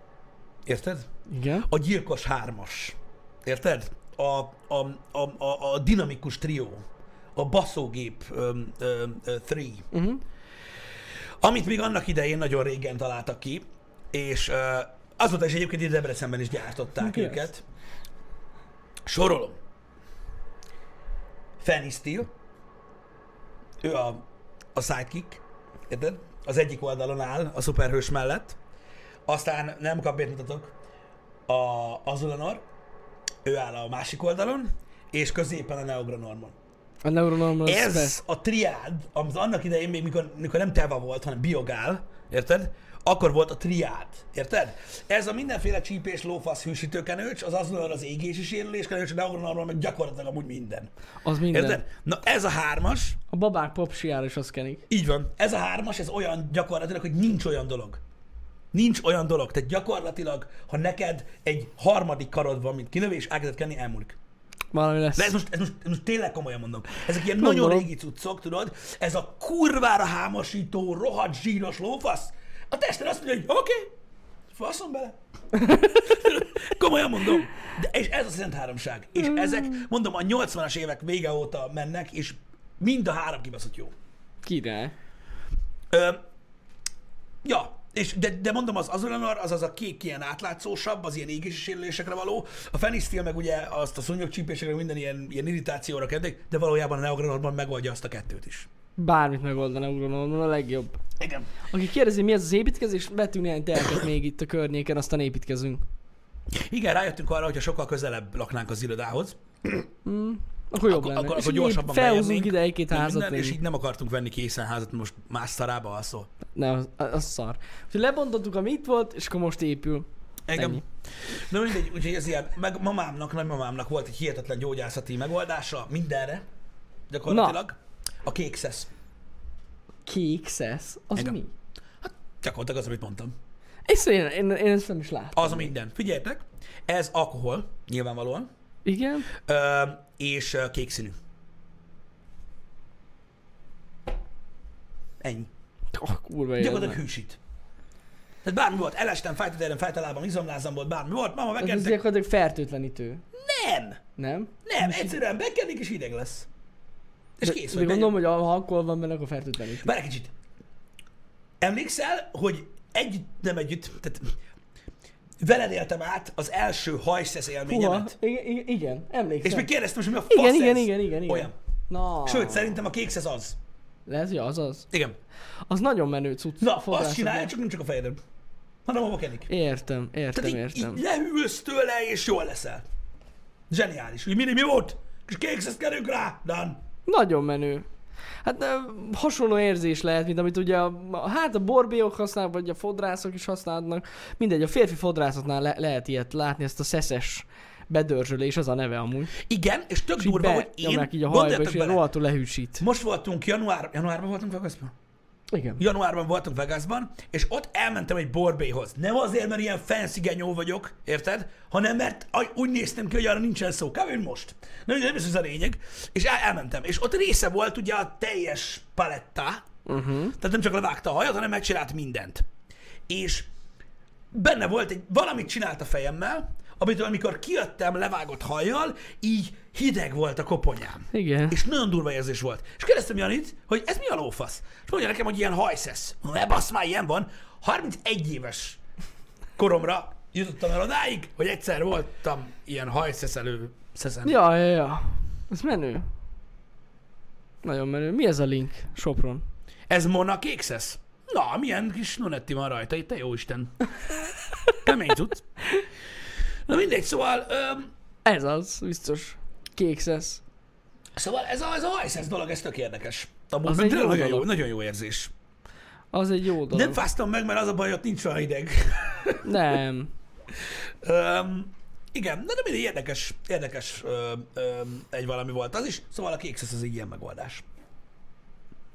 A: Érted?
B: Igen.
A: A gyilkos hármas. Érted? A, a, a, a, a dinamikus trió. A baszógép 3.
B: Uh-huh.
A: Amit még annak idején nagyon régen találtak ki, és uh, azóta is egyébként itt Debrecenben is gyártották
B: Mi az?
A: őket. Sorolom. Fanny Steele, ő a, a sidekick, érted? Az egyik oldalon áll a szuperhős mellett. Aztán nem kap mutatok. A Azulanor, ő áll a másik oldalon, és középen a Neogranormon.
B: A neuronormal az persze.
A: Ez a triád, amit annak idején még mikor, mikor nem teva volt, hanem biogál, érted? Akkor volt a triád, érted? Ez a mindenféle csípés, lófasz, hűsítőkenőcs, az azonnal az égési sérülés kenőcs, de arról meg gyakorlatilag amúgy minden.
B: Az minden.
A: Érted? Na ez a hármas,
B: A babák popsiára is azt kenik.
A: így van, ez a hármas, ez olyan gyakorlatilag, hogy nincs olyan dolog. Nincs olyan dolog. Tehát gyakorlatilag, ha neked egy harmadik karod van, mint kinövés, elkezded kenni, elmúlik.
B: Valami lesz.
A: De ez most, ez most, ez most tényleg komolyan mondom. Ezek ilyen
B: Gondolom.
A: nagyon régi cuccok, tudod? Ez a kurvára hámasító, rohadt zsíros lófasz. A tested azt mondja, hogy oké, okay, faszom bele. komolyan mondom. De, és ez a szent háromság. És ezek, mondom, a 80-as évek vége óta mennek, és mind a három kibaszott jó.
B: Király.
A: Ö, ja, és de, de mondom, az Azulanor, az az a kék ilyen átlátszósabb, az ilyen égési sérülésekre való. A Fenistil meg ugye azt a szúnyogcsípésekre, minden ilyen, ilyen irritációra keddik, de valójában a Neogranorban megoldja azt a kettőt is.
B: Bármit megold a neuronormal, a legjobb.
A: Igen.
B: Aki kérdezi, mi ez az építkezés, vetünk néhány telket még itt a környéken, aztán építkezünk.
A: Igen, rájöttünk arra, hogyha sokkal közelebb laknánk az irodához,
B: Akkor jobb
A: akkor,
B: lenne.
A: akkor,
B: És
A: akkor
B: így
A: gyorsabban
B: Felhúzunk
A: beérnénk,
B: ide egy-két
A: meg
B: házat.
A: minden,
B: még.
A: és így nem akartunk venni készen házat, most más szarába alszol.
B: Ne, az, az szar. Úgyhogy lebontottuk, ami itt volt, és akkor most épül.
A: Engem.
B: Ennyi.
A: Na mindegy, úgyhogy ez ilyen, meg mamámnak, nagymamámnak volt egy hihetetlen gyógyászati megoldása mindenre, gyakorlatilag. Na. A kékszesz.
B: Kék szesz. Az
A: Engem.
B: Engem. mi?
A: Gyakorlatilag az, amit mondtam.
B: És én, én, én ezt nem is láttam.
A: Az a minden. Figyeljetek, ez alkohol, nyilvánvalóan,
B: Igen?
A: ö, és ö, kék színű. Ennyi.
B: Oh, kurva
A: Gyakorlatilag
B: életben.
A: hűsít. Tehát bármi volt, elestem, fájtott erőm, fájt a lábam, izomlázam volt, bármi volt, mama
B: Ez
A: bekentek.
B: gyakorlatilag fertőtlenítő.
A: Nem!
B: Nem?
A: Nem, egyszerűen bekennék és hideg lesz. És
B: De-
A: kész,
B: de
A: hogy megyünk.
B: gondolom, hogy ha alkohol van benne, akkor fertőtlenítő.
A: Várj egy kicsit. Emlékszel, hogy együtt, nem együtt, tehát veled éltem át az első hajszesz
B: Puha,
A: élményemet.
B: igen, igen, igen, emlékszem.
A: És még kérdeztem, hogy mi a fasz
B: igen,
A: ez?
B: igen, igen, igen, igen.
A: Olyan.
B: Na.
A: Sőt, szerintem a kékszesz az.
B: Lehet, ja, az az.
A: Igen.
B: Az nagyon menő cucc.
A: Na, azt
B: Fodrászat.
A: csinálja, csak nem csak a fejedön. Hanem a kenik.
B: Értem, értem,
A: Tehát így,
B: értem.
A: így lehűlsz tőle, és jól leszel. Zseniális. Úgy mindig mi volt? És kékszesz kerünk rá, Dan.
B: Nagyon menő. Hát ö, hasonló érzés lehet, mint amit ugye a, a- hát a borbélyok használnak, vagy a fodrászok is használnak. Mindegy, a férfi fodrászatnál le- lehet ilyet látni, ezt a szeszes bedörzsölés, az a neve amúgy.
A: Igen, és tök
B: És így
A: durva, hogy én,
B: benyomják így a hajba, és
A: gondoljatok
B: ilyen
A: bele,
B: rohadtul lehűsít.
A: most voltunk január, januárban voltunk Vegasban?
B: Igen.
A: januárban voltunk Vegasban, és ott elmentem egy borbéhoz. Nem azért, mert ilyen fancy genyó vagyok, érted? Hanem mert aj- úgy néztem ki, hogy arra nincsen szó. Kb. mint most. Nem, nem ez az a lényeg. És el- elmentem. És ott része volt ugye a teljes paletta. Uh-huh. Tehát nem csak levágta a hajat, hanem megcsinált mindent. És benne volt egy, valamit csinált a fejemmel, amit amikor kijöttem levágott hajjal, így hideg volt a koponyám.
B: Igen.
A: És nagyon durva érzés volt. És kérdeztem Janit, hogy ez mi a lófasz? És mondja nekem, hogy ilyen hajszesz. Mondom, Ne basz, már ilyen van. 31 éves koromra jutottam el odáig, hogy egyszer voltam ilyen hajszeszelő szeszen. Ja.
B: Ja, ja, ja. Ez menő. Nagyon menő. Mi ez a link? Sopron.
A: Ez Mona Kékszesz? Na, milyen kis nunetti van rajta itt, te jó Isten. Kemény tudsz. Na mindegy, szóval, öm,
B: Ez az, biztos. Kékszesz.
A: szóval ez a, ez a hajszesz dolog, ez tök érdekes. Amúgy
B: Az
A: meg
B: egy jó
A: tényleg nagyon jó,
B: dolog.
A: nagyon jó érzés.
B: Az egy jó
A: Nem
B: dolog.
A: fáztam meg, mert az a baj, ott nincs olyan hideg.
B: Nem.
A: Öm, igen, na de mindegy, érdekes, érdekes öm, öm, egy valami volt az is. Szóval a kékszesz az egy ilyen megoldás.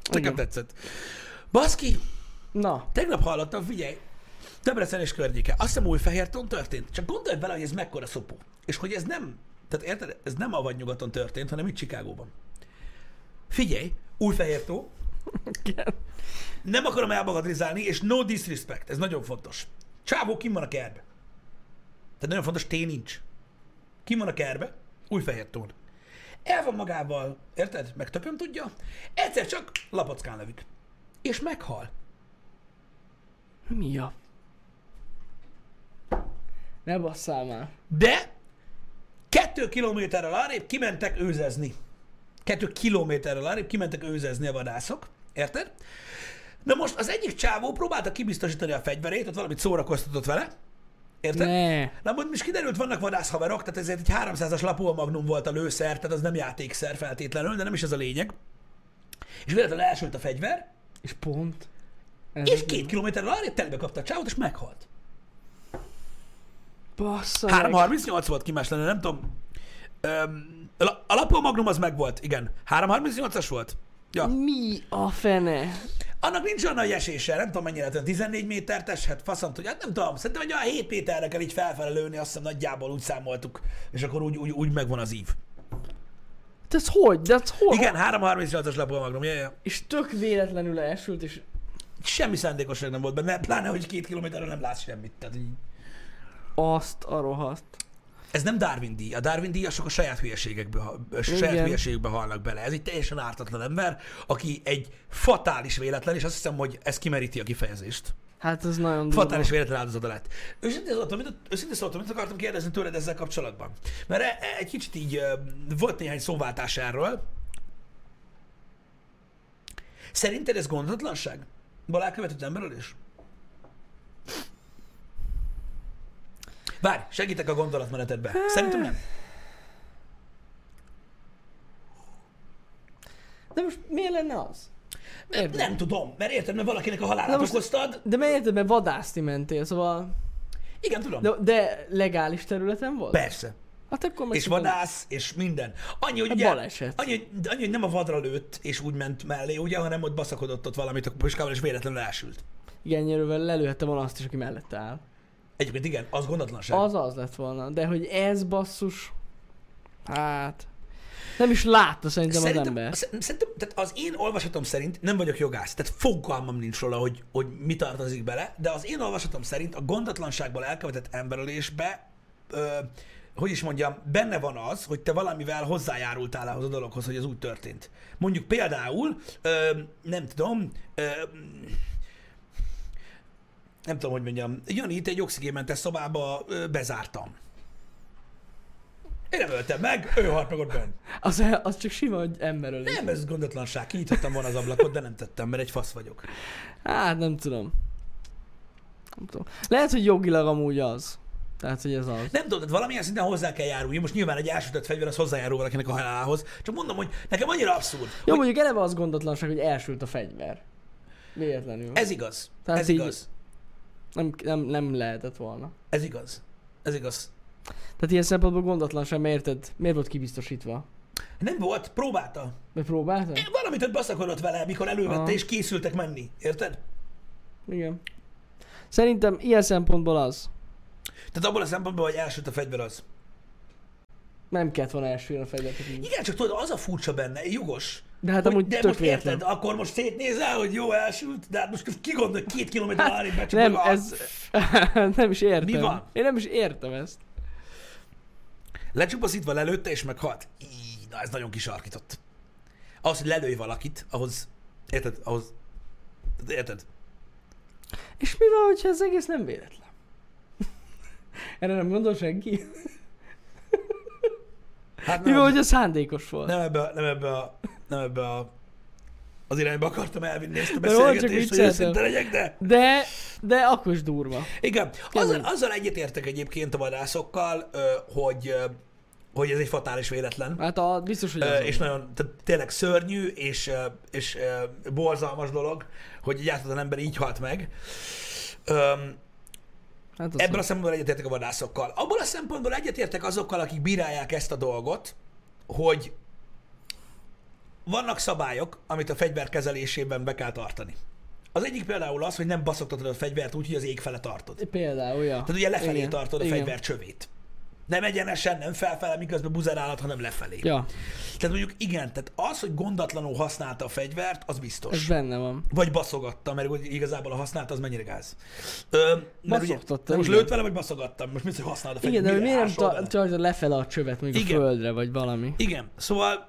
A: Nekem
B: Igen.
A: tetszett. Baszki,
B: Na,
A: Tegnap hallottam, figyelj, Debrecen és környéke. Azt hiszem Újfehérton történt. Csak gondolj bele, hogy ez mekkora szopó. És hogy ez nem, tehát érted, ez nem a vadnyugaton történt, hanem itt Csikágóban. Figyelj, Újfehértó,
B: igen.
A: nem akarom elmagadrizálni, és no disrespect, ez nagyon fontos. Csávó kim van a kerbe. Tehát nagyon fontos, té nincs. Kim van a kerbe, Újfehértón. El van magával, érted? Meg tököm tudja. Egyszer csak lapackán lövik. És meghal.
B: Mi a... Ne basszál már.
A: De kettő kilométerrel arrébb kimentek őzezni. Kettő kilométerrel arrébb kimentek őzezni a vadászok. Érted? Na most az egyik csávó próbálta kibiztosítani a fegyverét, ott valamit szórakoztatott vele. Érted?
B: Ne.
A: Na most is kiderült, vannak vadászhaverok, tehát ezért egy 300-as lapó a magnum volt a lőszer, tehát az nem játékszer feltétlenül, de nem is ez a lényeg. És véletlenül elsült a fegyver,
B: És pont. Ez
A: és két kilométerrel arrébb telbe kapta a csávót, és meghalt.
B: Bassza meg.
A: 338 volt kimás lenne, nem tudom. Öm, la- a lapó magnum az megvolt, igen. 338-as volt? Ja.
B: Mi a fene?
A: Annak nincs olyan nagy esése, nem tudom mennyire, tehát 14 métert eshet, faszom tudja, hát nem tudom, szerintem egy olyan 7 méterre kell így felfele lőni, azt hiszem nagyjából úgy számoltuk, és akkor úgy, úgy, úgy megvan az ív.
B: De ez hogy? De ez hol?
A: Igen, 338-as lapó magnum, ja, ja.
B: És tök véletlenül elsült, és
A: Semmi szándékosság nem volt benne, pláne, hogy két kilométerről nem látsz semmit. Tehát így.
B: azt a rohadt.
A: Ez nem Darwin díj. A Darwin díjasok a saját hülyeségekbe, ha- a saját
B: Igen.
A: hülyeségekbe halnak bele. Ez egy teljesen ártatlan ember, aki egy fatális véletlen, és azt hiszem, hogy ez kimeríti a kifejezést.
B: Hát ez nagyon durva.
A: Fatális véletlen áldozata lett. Őszintén szóltam, mit, őszintén szóltam, mit akartam kérdezni tőled ezzel kapcsolatban? Mert e- e- egy kicsit így ö, volt néhány szóváltás erről. Szerinted ez gondatlanság? Balá követett emberről is? Várj, segítek a gondolatmenetedbe.
B: Hát.
A: Szerintem nem.
B: De most miért lenne az? Érted?
A: Nem tudom, mert érted, mert valakinek a halálát
B: Na most-
A: okoztad.
B: De mert érted, mert vadászni mentél, szóval...
A: Igen, tudom.
B: De, de legális területen volt?
A: Persze.
B: Hát akkor meg
A: és
B: csak nem-
A: vadász, és minden. Annyi, hogy
B: Hát
A: ugye,
B: baleset.
A: annyi, hogy- annyi, hogy nem a vadra lőtt, és úgy ment mellé, ugye, hanem ott baszakodott ott valamit a puskával, és véletlenül elsült.
B: Igen, nyerővel lelőhette volna azt is, aki mellette áll.
A: Egyébként igen, az gondatlanság.
B: Az az lett volna, de hogy ez basszus... Hát... Nem is látta szerintem, az ember.
A: szer- Szerintem, tehát az én olvasatom szerint, nem vagyok jogász, tehát fogalmam nincs róla, hogy, hogy mi tartozik bele, de az én olvasatom szerint a gondatlanságból elkövetett emberölésbe, ö, hogy is mondjam, benne van az, hogy te valamivel hozzájárultál ahhoz a dologhoz, hogy ez úgy történt. Mondjuk például, ö, nem tudom, ö, nem tudom, hogy mondjam, Janit egy oxigénmentes szobába ö, bezártam. Én nem öltem meg, ő halt meg ott bent.
B: Az, az csak sima, hogy emberölés.
A: Nem, ez gondatlanság. Kinyitottam volna az ablakot, de nem tettem, mert egy fasz vagyok.
B: Hát nem tudom. Nem tudom. Lehet, hogy jogilag amúgy az. Tehát, hogy ez az.
A: Nem tudom, tehát valamilyen szinten hozzá kell járulni. Most nyilván egy elsütött fegyver, az hozzájárul valakinek a halálához. Csak mondom, hogy nekem annyira abszurd.
B: Jó,
A: hogy
B: mondjuk eleve az gondatlanság, hogy elsült a fegyver. Véletlenül.
A: ez igaz.
B: Tehát
A: ez
B: így-
A: igaz.
B: Nem, nem, nem lehetett volna.
A: Ez igaz. Ez igaz.
B: Tehát ilyen szempontból gondatlanság, mert érted? Miért volt kibiztosítva?
A: Nem volt, próbálta.
B: Megpróbáltam?
A: Én valamit ott baszakodott vele, mikor elővette,
B: Aha.
A: és készültek menni. Érted?
B: Igen. Szerintem ilyen szempontból az.
A: Tehát abból a szempontból, hogy elsüt a fegyver az.
B: Nem kellett volna elsőre a fegyvert. hogy így-
A: Igen, csak tudod, az a furcsa benne, jogos.
B: De hát
A: Hogy-
B: amúgy
A: de
B: tök
A: most
B: véletlen.
A: érted, akkor most szétnézel, hogy jó, elsült, de hát most ki gondolja, hogy két kilométer hát, arra
B: Nem, ez... *laughs* nem is értem.
A: Mi van?
B: Én nem is értem ezt.
A: Lecsupaszítva lelőtte és meghalt. Így, na ez nagyon kisarkított. Ahhoz, hogy lelőj valakit, ahhoz, érted, ahhoz, tehát érted?
B: És mi van, hogyha ez egész nem véletlen? *laughs* Erre nem gondol senki?
A: Hát
B: Mivel
A: nem,
B: hogy a szándékos volt.
A: nem, ebbe, a- nem ebbe a, nem ebbe a, az irányba akartam elvinni ezt a
B: De volt, csak
A: beszélgetést, hogy
B: vicceltem.
A: őszinte legyek, de...
B: De, de akkor is durva.
A: Igen, azzal,
B: Kemény.
A: azzal egyetértek egyébként a vadászokkal, ö, hogy, ö, hogy ez egy fatális véletlen.
B: Hát a, biztos, hogy
A: Ö,
B: az
A: és nagyon, tehát tényleg szörnyű, és, ö, és ö, borzalmas dolog, hogy egy átlagan ember így halt meg. Öm,
B: hát az
A: Ebből a szempontból egyetértek a vadászokkal. Abból a szempontból egyetértek azokkal, akik bírálják ezt a dolgot, hogy vannak szabályok, amit a fegyver kezelésében be kell tartani. Az egyik például az, hogy nem baszogtatod a fegyvert úgy, hogy az ég fele tartod.
B: Például, ja.
A: Tehát ugye lefelé Igen. tartod a
B: Igen.
A: fegyver csövét. Nem egyenesen, nem felfele, miközben buzerálod, hanem lefelé.
B: Ja,
A: Tehát mondjuk igen, tehát az, hogy gondatlanul használta a fegyvert, az biztos.
B: ez benne van.
A: Vagy baszogatta, mert úgy igazából a használta, az mennyire gáz. Ö, mert ugye,
B: Baszogtatta,
A: de most
B: igen.
A: lőtt vele, vagy baszogattam? Most mit, hogy használod a
B: Igen,
A: fegyvert?
B: de
A: Mire
B: miért nem
A: ásol
B: ta-
A: bele?
B: tartja lefele a csövet, mondjuk
A: Igen.
B: a földre, vagy valami?
A: Igen, szóval,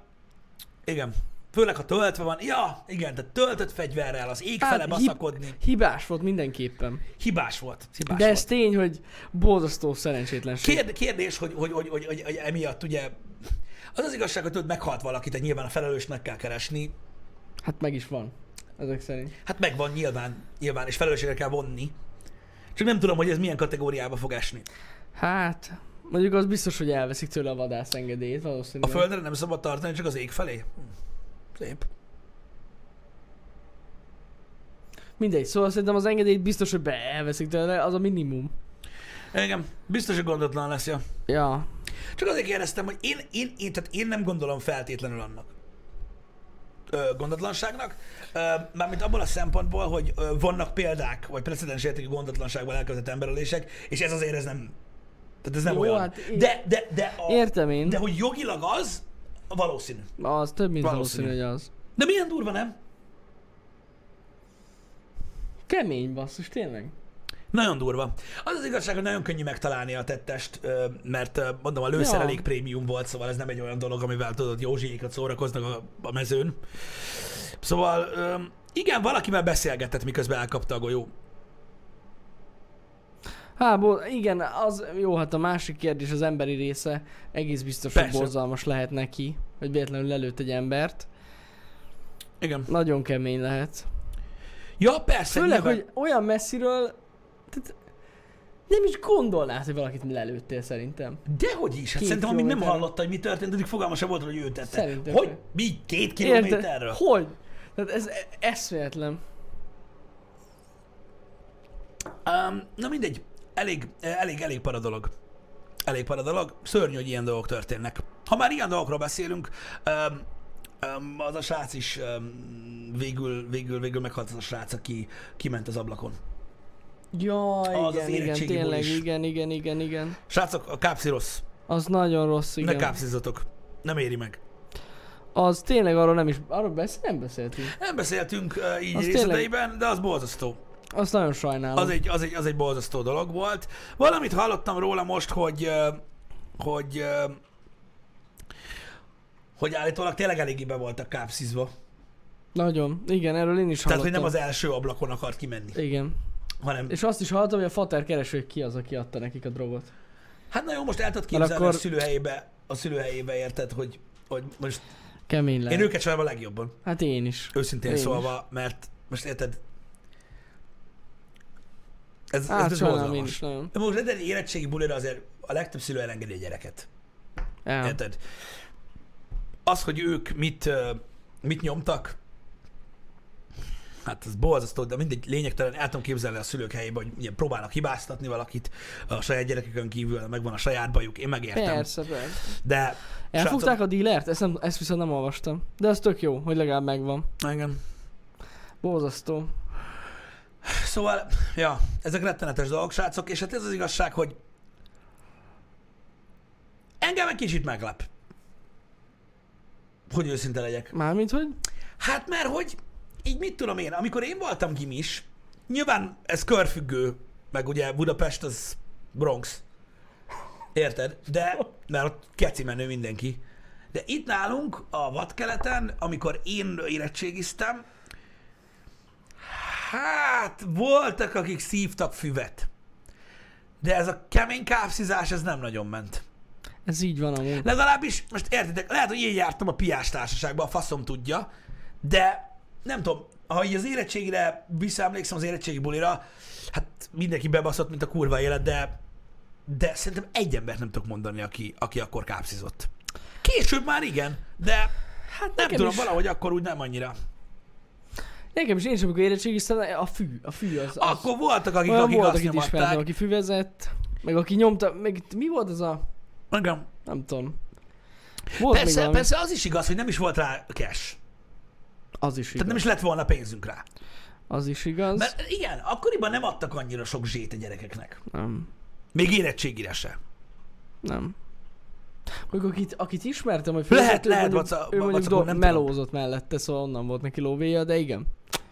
A: igen. Főleg, ha töltve van. Ja, igen, tehát töltött fegyverrel, az ég fele
B: Hát hib-
A: baszakodni.
B: Hibás volt mindenképpen.
A: Hibás volt. Hibás
B: De
A: volt.
B: ez tény, hogy borzasztó szerencsétlenség.
A: Kérd, kérdés, hogy, hogy, hogy, hogy, hogy, hogy emiatt ugye az az igazság, hogy tudod, meghalt valakit, tehát nyilván a felelősnek kell keresni.
B: Hát meg is van. Ezek szerint.
A: Hát megvan nyilván, nyilván, és felelősségre kell vonni. Csak nem tudom, hogy ez milyen kategóriába fog esni.
B: Hát, mondjuk az biztos, hogy elveszik tőle a vadász engedélyét
A: A
B: valószínűleg.
A: földre nem szabad tartani, csak az ég felé? Hm. Szép.
B: Mindegy, szóval szerintem az engedélyt biztos, hogy be elveszik tőle, az a minimum.
A: Igen, biztos, hogy gondotlan lesz, ja.
B: Ja.
A: Csak azért kérdeztem, hogy én, én, én, tehát én nem gondolom feltétlenül annak ö, gondatlanságnak, ö, mármint abból a szempontból, hogy ö, vannak példák, vagy precedens értékű gondatlanságban elkövetett emberölések, és ez azért ez nem, tehát ez nem
B: Jó,
A: olyan.
B: hát én-
A: de, de, de, a,
B: Értem én.
A: de hogy jogilag az, valószínű.
B: Az több, mint
A: Valószínű.
B: valószínű, hogy az.
A: De milyen durva, nem?
B: Kemény basszus, tényleg.
A: Nagyon durva. Az az igazság, hogy nagyon könnyű megtalálni a tettest, ö, mert ö, mondom, a lőszer
B: Ja.
A: elég prémium volt, szóval ez nem egy olyan dolog, amivel tudod, Józsiékat szórakoznak a, a mezőn. Szóval ö, igen, valakivel beszélgetett, miközben elkapta a golyó.
B: Há, Hát, bo- igen, az jó, hát a másik kérdés, az emberi része egész biztos,
A: Persze.
B: hogy borzalmas lehet neki, hogy véletlenül lelőtt egy embert.
A: Igen.
B: Nagyon kemény lehet.
A: Ja, persze.
B: Főleg,
A: nyilván.
B: hogy olyan messziről, tehát nem is gondolnád, hogy valakit lelőttél szerintem.
A: Dehogy is. Hát
B: Két
A: szerintem, amíg nem
B: kilométer.
A: hallotta, hogy mi történt, addig fogalma sem volt, hogy ő tette.
B: Szerintem
A: Hogy?
B: sem.
A: Mi? Két
B: Érted?
A: kilométerről?
B: Hogy? Tehát ez e- eszméletlen.
A: Um, na mindegy, elég, elég, elég para dolog. Elég para dolog. Szörnyű, hogy ilyen dolgok történnek. Ha már ilyen dolgokról beszélünk, um, um, az a srác is um, végül, végül, végül meghalt az a srác, aki kiment az ablakon.
B: Ja,
A: az
B: igen, igen,
A: érettségi
B: tényleg,
A: bulis.
B: igen, igen, igen, igen.
A: Srácok, a kápszi rossz.
B: Az nagyon rossz,
A: Igen. Ne
B: igen.
A: kápszizatok. Nem éri meg.
B: Az tényleg arról nem is, arról beszél, nem beszéltünk.
A: Nem beszéltünk uh, így
B: Az
A: részleteiben, de az borzasztó.
B: Azt nagyon sajnálom.
A: Az egy, az, egy, az egy borzasztó dolog volt. Valamit hallottam róla most, hogy ö, hogy ö, hogy állítólag tényleg eléggé be voltak kápszizva.
B: Nagyon. Igen, erről én is
A: Tehát, hogy
B: hallottam.
A: nem az első ablakon akart kimenni,
B: Igen.
A: hanem...
B: És azt is hallottam, hogy a fater kereső, hogy ki az, aki adta nekik a drogot.
A: Hát na jó, most el tudod képzelni
B: akkor-
A: a szülőhelyébe, a szülőhelyébe érted, hogy, hogy most
B: Kemény
A: én
B: lehet.
A: őket sajnálom a legjobban,
B: Hát én is.
A: őszintén
B: Én
A: én
B: is.
A: szólva, mert most érted, ez, ez,
B: Hát
A: ez
B: sajnálom én
A: borzalmas.
B: is nagyon.
A: De Most egy érettségi bulira azért a legtöbb szülő elengedi a gyereket.
B: El.
A: Érted? Az, hogy ők mit, ö, mit nyomtak, hát ez borzasztó, de mindegy lényegtelen, el tudom képzelni a szülők helyébe, hogy ugye próbálnak hibáztatni valakit a saját gyerekükön kívül, megvan a saját bajuk, én megértem.
B: Persze, persze.
A: De
B: Elfogták a dílert? Ezt, nem, ezt viszont nem olvastam. De az tök jó, hogy legalább megvan.
A: srácok, engem.
B: Borzasztó.
A: Szóval, ja, ezek rettenetes dolgok, srácok, és hát ez az igazság, hogy engem egy kicsit meglep. Hogy őszinte legyek.
B: Mármint, hogy?
A: Hát mert hogy, így mit tudom én, amikor én voltam gimis, nyilván ez körfüggő, meg ugye Budapest az Bronx. Érted? De, mert ott keci menő mindenki. De itt nálunk, a vadkeleten, amikor én érettségiztem, hát voltak, akik szívtak füvet. De ez a kemény kávszizás, ez nem nagyon ment.
B: Ez így van amúgy.
A: Legalábbis, most értitek, lehet, hogy én jártam a piás társaságban, a faszom tudja, de nem tudom, ha így az érettségire visszaemlékszem az érettségi bulira, hát mindenki bebaszott, mint a kurva élet, de, de szerintem egy embert nem tudok mondani, aki, aki akkor kápszizott. Később már igen, de hát nem
B: nekem
A: tudom,
B: is.
A: valahogy akkor úgy nem annyira.
B: Nekem is én sem, amikor érettségiztem, a fű, a fű az, az
A: Akkor voltak, akik,
B: Olyan
A: akik
B: volt,
A: azt
B: akit ismertem,
A: nyomatták.
B: aki füvezett, meg aki nyomta, meg itt mi volt az a,
A: Igen.
B: nem tudom. Volt még
A: Persze,
B: valami.
A: persze az is igaz, hogy nem is volt rá cash.
B: Az is igaz.
A: Tehát nem is lett volna pénzünk rá.
B: Az is igaz.
A: Mert igen, akkoriban nem adtak annyira sok zsét a gyerekeknek.
B: Nem,
A: Még érettségire se.
B: nem. Mondjuk akit, akit ismertem, hogy
A: Lehet,
B: főzött, ő
A: lehet,
B: mondjuk,
A: vaca-
B: ő mondjuk
A: vacakon,
B: do-
A: nem tudom.
B: melózott mellette, szóval onnan volt neki lóvéja, de igen.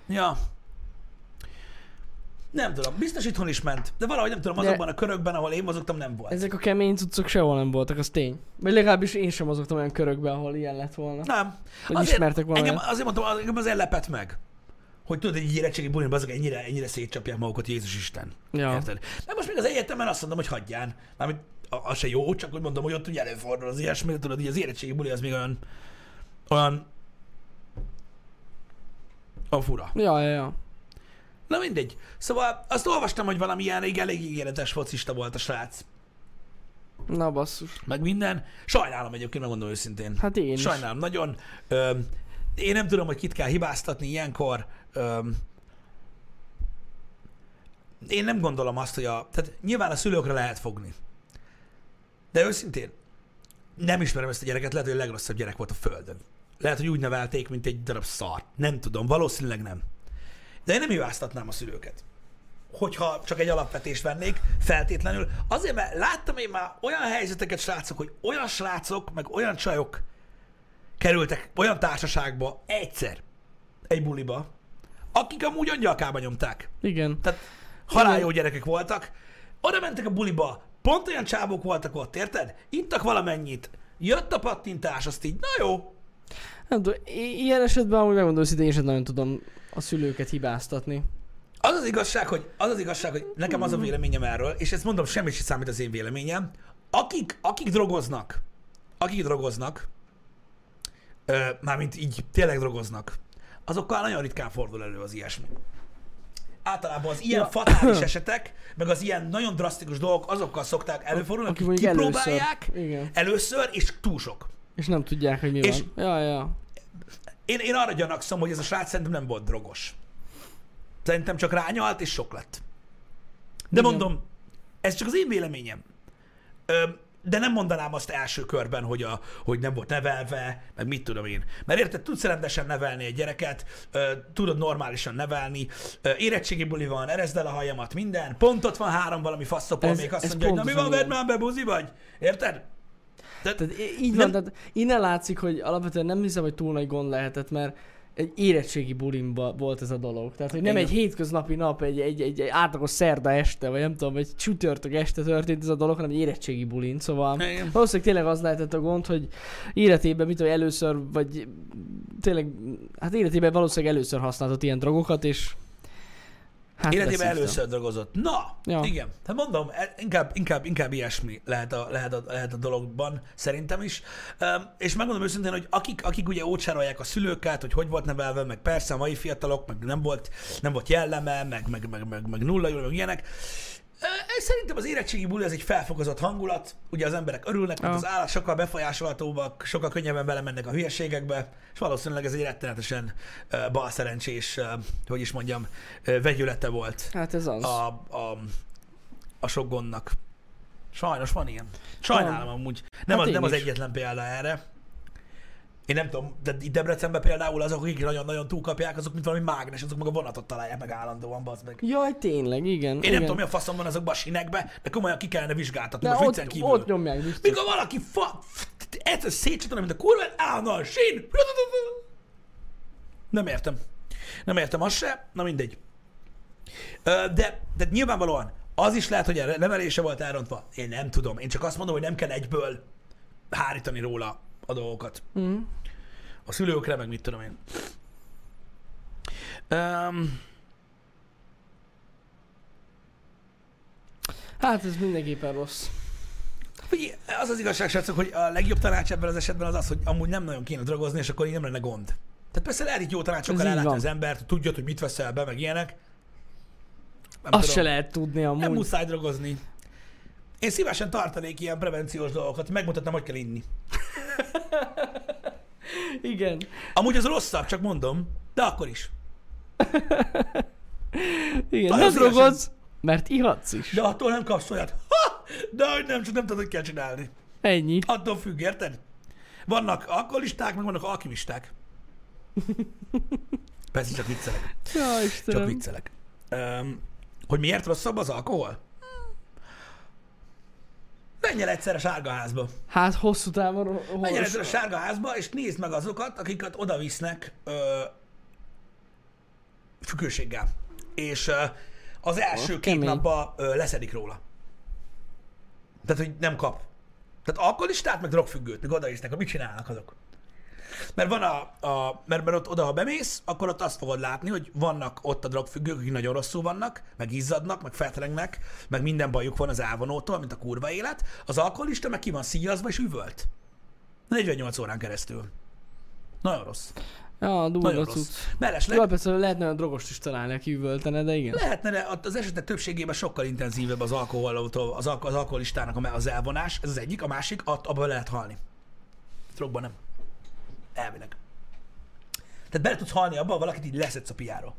A: Ja. Nem tudom, biztos itthon is ment, de valahogy nem tudom,
B: De-
A: azokban a körökben, ahol én mozogtam, nem volt. Ez...
B: Ezek a kemény cuccok sehol nem voltak, az tény. Vagy legalábbis én sem mozogtam olyan körökbe, ahol ilyen lett volna.
A: Nem.
B: Vagy ismertek valamit.
A: engem, azért mondtam, az- engem azért lepett meg. Hogy tudod, egy érettségi bulin, azok ennyire, ennyire szétcsapják magukat, Jézus Isten.
B: Ja.
A: Érted? De most még az egyetemen azt mondom, hogy hagyján. Mármint a- az se jó, csak úgy mondom, hogy ott ugye előfordul az ilyesmi, de tudod, hogy az érettségi buli az még olyan, olyan, a fura.
B: Ja, ja, ja.
A: Na mindegy. Szóval azt olvastam, hogy valami ilyen elég, elég ígéretes focista volt a srác.
B: Na basszus.
A: Meg minden. Sajnálom egyébként, megmondom őszintén.
B: Hát én is.
A: Sajnálom nagyon. Öm, én nem tudom, hogy kit kell hibáztatni ilyenkor. Öm, én nem gondolom azt, hogy a... Tehát nyilván a szülőkre lehet fogni. De őszintén, nem ismerem ezt a gyereket, lehet, hogy a legrosszabb gyerek volt a Földön. Lehet, hogy úgy nevelték, mint egy darab szar. Nem tudom, valószínűleg nem. De én nem hibáztatnám a szülőket. Hogyha csak egy alapvetést vennék, feltétlenül. Azért, mert láttam én már olyan helyzeteket, srácok, hogy olyan srácok, meg olyan csajok kerültek olyan társaságba egyszer, egy buliba, akik amúgy angyalkába nyomták.
B: Igen.
A: Tehát halál jó gyerekek voltak. Oda mentek a buliba, pont olyan csávók voltak ott, érted? Ittak valamennyit. Jött a pattintás, azt így, na jó,
B: Nem tudom, i- ilyen esetben amúgy megmondom őszintén, én sem nagyon tudom a szülőket hibáztatni.
A: Az az igazság, hogy, az az igazság, hogy nekem az a véleményem erről, és ezt mondom, semmi sem számít az én véleményem. Akik, akik drogoznak, akik drogoznak, ö, mármint így tényleg drogoznak, azokkal nagyon ritkán fordul elő az ilyesmi. Általában az ilyen ja. fatális esetek, meg az ilyen nagyon drasztikus dolgok, azokkal szokták előfordulni,
B: Aki
A: akik
B: mondjuk először.
A: kipróbálják először.
B: Igen.
A: először, és túl sok.
B: És nem tudják, hogy mi
A: És-
B: van. Ja, ja.
A: Én, én arra gyanakszom, hogy ez a srác szerintem nem volt drogos. Szerintem csak rányalt, és sok lett. De
B: Igen.
A: mondom, ez csak az én véleményem. Ö, de nem mondanám azt első körben, hogy, a, hogy nem volt nevelve, meg mit tudom én. Mert érted, tudsz rendesen nevelni egy gyereket, ö, tudod normálisan nevelni, ö, érettségi buli van, erezd el a hajamat, minden, pont ott van három valami faszopol,
B: Ez-
A: még azt
B: ez
A: mondja, hogy na mi
B: pontosan
A: van,
B: ilyen.
A: vedd már be, buzi vagy, érted? Tehát,
B: Tehát í- így
A: Nem-
B: van, tehát innen látszik, hogy alapvetően nem hiszem, hogy túl nagy gond lehetett, mert egy érettségi bulimba volt ez a dolog. Tehát, hogy nem
A: Igen.
B: egy hétköznapi nap, egy, egy, egy, egy átlagos szerda este, vagy nem tudom, egy csütörtök este történt ez a dolog, hanem egy érettségi bulin. Szóval
A: Igen.
B: valószínűleg tényleg az lehetett a gond, hogy életében, mit tudom, először, vagy tényleg, hát életében valószínűleg először használtott ilyen drogokat, és hát
A: Életében
B: beszívta.
A: először dolgozott. Na, ja.
B: Ja.
A: igen. Hát mondom, e- inkább, inkább, inkább ilyesmi lehet a, lehet, a, lehet a dologban, szerintem is. Um, és megmondom őszintén, hogy akik, akik ugye ócsárolják a szülőket, hogy hogy volt nevelve, meg persze a mai fiatalok, meg nem volt, nem volt jelleme, meg, meg, meg, meg, meg nulla jól, meg ilyenek. Ö, ez Szerintem az érettségi buli az egy felfokozott hangulat, ugye az emberek örülnek, mert
B: Ja.
A: az állás sokkal befolyásolhatóbbak, sokkal könnyebben belemennek a hülyeségekbe, és valószínűleg ez egy rettenetesen uh, balszerencsés, uh, hogy is mondjam, uh, vegyülete volt
B: Hát ez az.
A: a, a, a sok gondnak. Sajnos van ilyen. Sajnálom amúgy. Nem,
B: Hát
A: az,
B: én
A: nem az
B: is.
A: egyetlen példa erre. Én nem tudom, de itt Debrecenben például azok, akik nagyon-nagyon túlkapják, azok mint valami mágnes, azok meg a vonatot találják meg állandóan, bazd meg.
B: Jaj, tényleg, igen.
A: Én
B: igen.
A: nem tudom, mi a faszom van azokban a sinekben, de komolyan ki kellene vizsgáltatni,
B: de
A: most viccen
B: ott,
A: kívül.
B: ott nyomják biztos.
A: Mikor valaki fa... f- t- Egyszer szétcsatolom, mint a kurva, állandóan sín! Nem értem. Nem értem azt se, na mindegy. Ö, De, de nyilvánvalóan az is lehet, hogy a nevelése volt elrontva. Én nem tudom. Én csak azt mondom, hogy nem kell egyből hárítani róla a dolgokat. Mm. A szülőkre, meg mit tudom én. Um,
B: Hát ez mindenképpen rossz.
A: Figyelj, az az igazság, srácok, hogy a legjobb tanács ebben az esetben az az, hogy amúgy nem nagyon kéne drogozni, és akkor így nem lenne gond. Tehát persze lehet itt jó
B: Ez
A: tanácsokkal
B: így
A: ellátni
B: van.
A: az embert, hogy tudjad, hogy mit veszel be, meg ilyenek. Nem
B: Azt se lehet tudni amúgy.
A: Nem muszáj drogozni. Én szívesen tartanék ilyen prevenciós dolgokat, megmutatnám, hogy kell inni.
B: Igen.
A: Amúgy az rosszabb, csak mondom, de akkor is.
B: Igen.
A: Nagyon
B: Nem
A: szívesen.
B: drogodsz, mert ihatsz is.
A: De attól nem kapsz olyat. Ha! De hogy nem, csak nem tudod, hogy kell csinálni.
B: Ennyi.
A: Attól függ, érted? Vannak alkoholisták, meg vannak
B: *laughs*
A: alkimisták. Persze csak viccelek.
B: Ja,
A: Csak
B: Istenem.
A: viccelek. Um, hogy miért rosszabb az alkohol? Menj el egyszer a sárga házba.
B: Hát hosszú távon...
A: Menj el
B: Hol...
A: egyszer a sárga házba, és nézd meg azokat, akiket oda visznek ö, függőséggel. És ö, az első két
B: kemény.
A: napban ö, leszedik róla. Tehát, hogy nem kap. Tehát alkoholistát, meg drogfüggőt, meg oda visznek, mit csinálnak azok? Mert van a, a mert, mert ott oda, ha bemész, akkor ott azt fogod látni, hogy vannak ott a drogfüggők, akik nagyon rosszul vannak, meg izzadnak, meg feltrengnek, meg minden bajuk van az ávonótól, mint a kurva élet. Az alkoholista meg ki van szíjazva és üvölt. 48 órán keresztül. Nagyon rossz.
B: Ja,
A: Nagyon
B: durva
A: rossz.
B: cucc.
A: Mellesleg
B: Jó, hát persze lehetne olyan drogost is találni, aki üvöltene, de igen.
A: lehetne, de ott az esetek többségében sokkal intenzívebb az alkoholtól, az, alko- az alkoholistának a me- az elvonás, ez az egyik, a másik, att- abba bele lehet halni. Drogban nem. Elvileg. Tehát bele tudsz halni abba, ha valakit így leszedsz a piáról.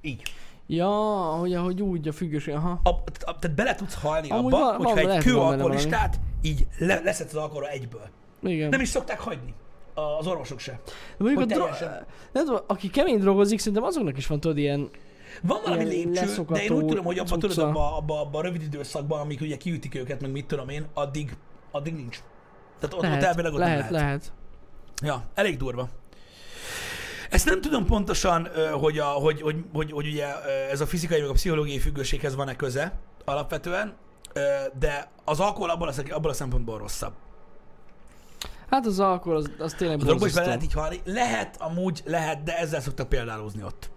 A: Így.
B: Ja, hogy ahogy úgy a függőség, aha.
A: A, a, tehát bele tudsz halni
B: Amúgy
A: abba,
B: van- van-
A: hogyha egy
B: lehet, van benne
A: kőalkoholistát így le, leszedsz az alkoholra egyből.
B: Igen.
A: Nem is szokták hagyni. A- Az orvosok se.
B: De mondjuk a
A: hogy
B: dro-
A: teljesen.
B: nem tudom, aki kemény drogozik, szerintem azoknak is van, tudod, ilyen...
A: Van valami
B: Ilyen
A: lépcső, de én úgy
B: leszokató
A: tudom, hogy abban tudod,
B: cucca.
A: abban abba, abba a rövid időszakban, amik ugye kiütik őket, meg mit tudom én, addig, addig nincs. Tehát ott, lehet, ott
B: Lehet,
A: elvileg
B: lehet,
A: ott nem
B: lehet, lehet.
A: Ja, elég durva. Ezt nem tudom pontosan, ö, hogy, a, hogy, hogy, hogy, hogy ugye ö, ez a fizikai meg a pszichológiai függőséghez van-e köze alapvetően, ö, de az alkohol abban a, abban a szempontból rosszabb.
B: Hát az alkohol, az, az tényleg
A: A drogba is bele lehet
B: borzasztó.
A: így halni. Lehet, amúgy lehet, de ezzel szoktak példálózni ott.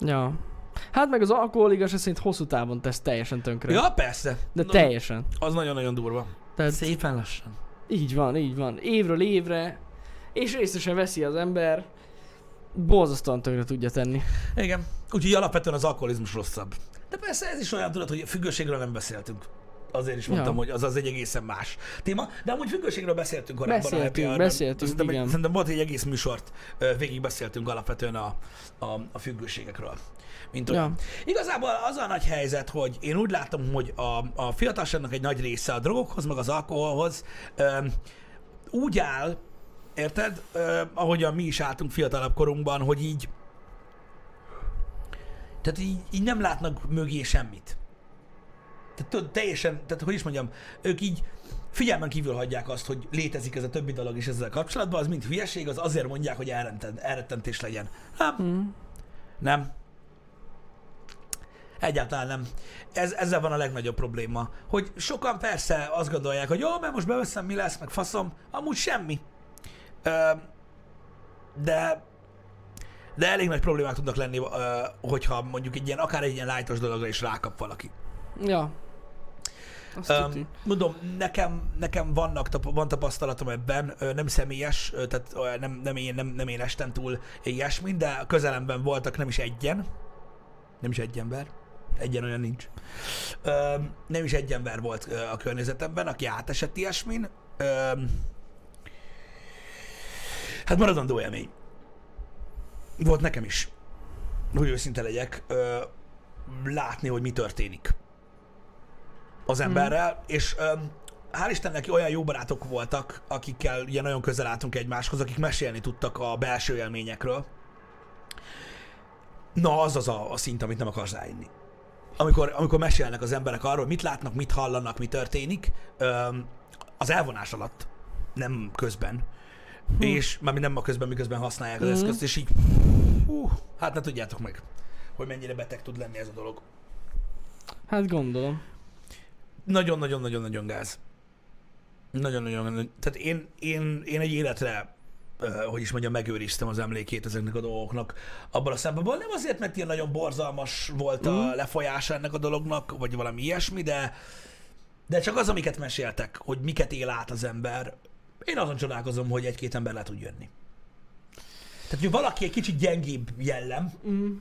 B: Ja. Hát meg az alkohol igazság szerint hosszú távon tesz teljesen tönkre.
A: Ja, persze.
B: De
A: Na,
B: teljesen.
A: Az nagyon-nagyon durva.
B: Tehát
A: Szépen lassan.
B: így van, így van. Évről évre. És részesen veszi az ember. Borzasztóan tönkre tudja tenni.
A: Igen. Úgyhogy alapvetően az alkoholizmus rosszabb. De persze ez is olyan tudat, hogy függőségről nem beszéltünk. Azért is mondtam,
B: Ja.
A: hogy az az egy egészen más téma. De amúgy függőségről beszéltünk korábban. a
B: Beszéltünk,
A: Happy Hour-ben.
B: beszéltünk,
A: szerintem,
B: igen.
A: Szerintem volt egy egész műsort, ö, végig beszéltünk alapvetően a, a, a függőségekről. Mint olyan.
B: Ja.
A: Igazából az a nagy helyzet, hogy én úgy látom, hogy a, a fiatalságnak egy nagy része a drogokhoz, meg az alkoholhoz öm, úgy áll, érted, öm, ahogyan mi is álltunk fiatalabb korunkban, hogy így tehát így, így nem látnak mögé semmit. Tehát tudod, teljesen, tehát hogy is mondjam, ők így figyelmen kívül hagyják azt, hogy létezik ez a többi dolog is ezzel kapcsolatban, az mint hülyeség, az azért mondják, hogy elrettent, elrettentés legyen. Nem. Nem. Egyáltalán nem. Ez, ezzel van a legnagyobb probléma. Hogy sokan persze azt gondolják, hogy jó, mert most beveszem, mi lesz, meg faszom. Amúgy semmi. Ö, de de elég nagy problémák tudnak lenni, ö, hogyha mondjuk egy ilyen, akár egy ilyen lájtos dologra is rákap valaki.
B: Ja. Azt tuti.
A: Um, mondom, nekem, nekem vannak, tap- van tapasztalatom ebben, ö, nem személyes, ö, tehát ö, nem, nem, én, nem, nem én estem túl ilyesmit, de a közelemben voltak nem is egyen, nem is egy ember, egyen olyan nincs. Um, nem is egy ember volt ö, a környezetemben, aki átesett ilyesmin. Um, hát maradandó élmény. Volt nekem is, hogy őszinte legyek, ö, látni, hogy mi történik az emberrel, mm. és öm, hál' Istennek olyan jó barátok voltak, akikkel ugye nagyon közel álltunk egymáshoz, akik mesélni tudtak a belső élményekről. Na, az az a, a szint, amit nem akarsz ráinni. Amikor, amikor mesélnek az emberek arról, mit látnak, mit hallanak, mi történik, öm, az elvonás alatt, nem közben, hm. és mármint nem a közben, miközben használják az eszközt, és így, hú, hát ne tudjátok meg, hogy mennyire beteg tud lenni ez a dolog
B: Hát gondolom.
A: nagyon-nagyon-nagyon-nagyon gáz. Nagyon-nagyon. Tehát én, én, én egy életre, ö, hogy is mondjam, megőriztem az emlékét ezeknek a dolgoknak. Abban a szempontból nem azért, mert ilyen nagyon borzalmas volt a lefolyása ennek a dolognak, vagy valami ilyesmi, de De csak az, amiket meséltek, hogy miket él át az ember, én azon csodálkozom, hogy egy-két ember le tud jönni. Tehát, hogy valaki egy kicsit gyengébb jellem, mm.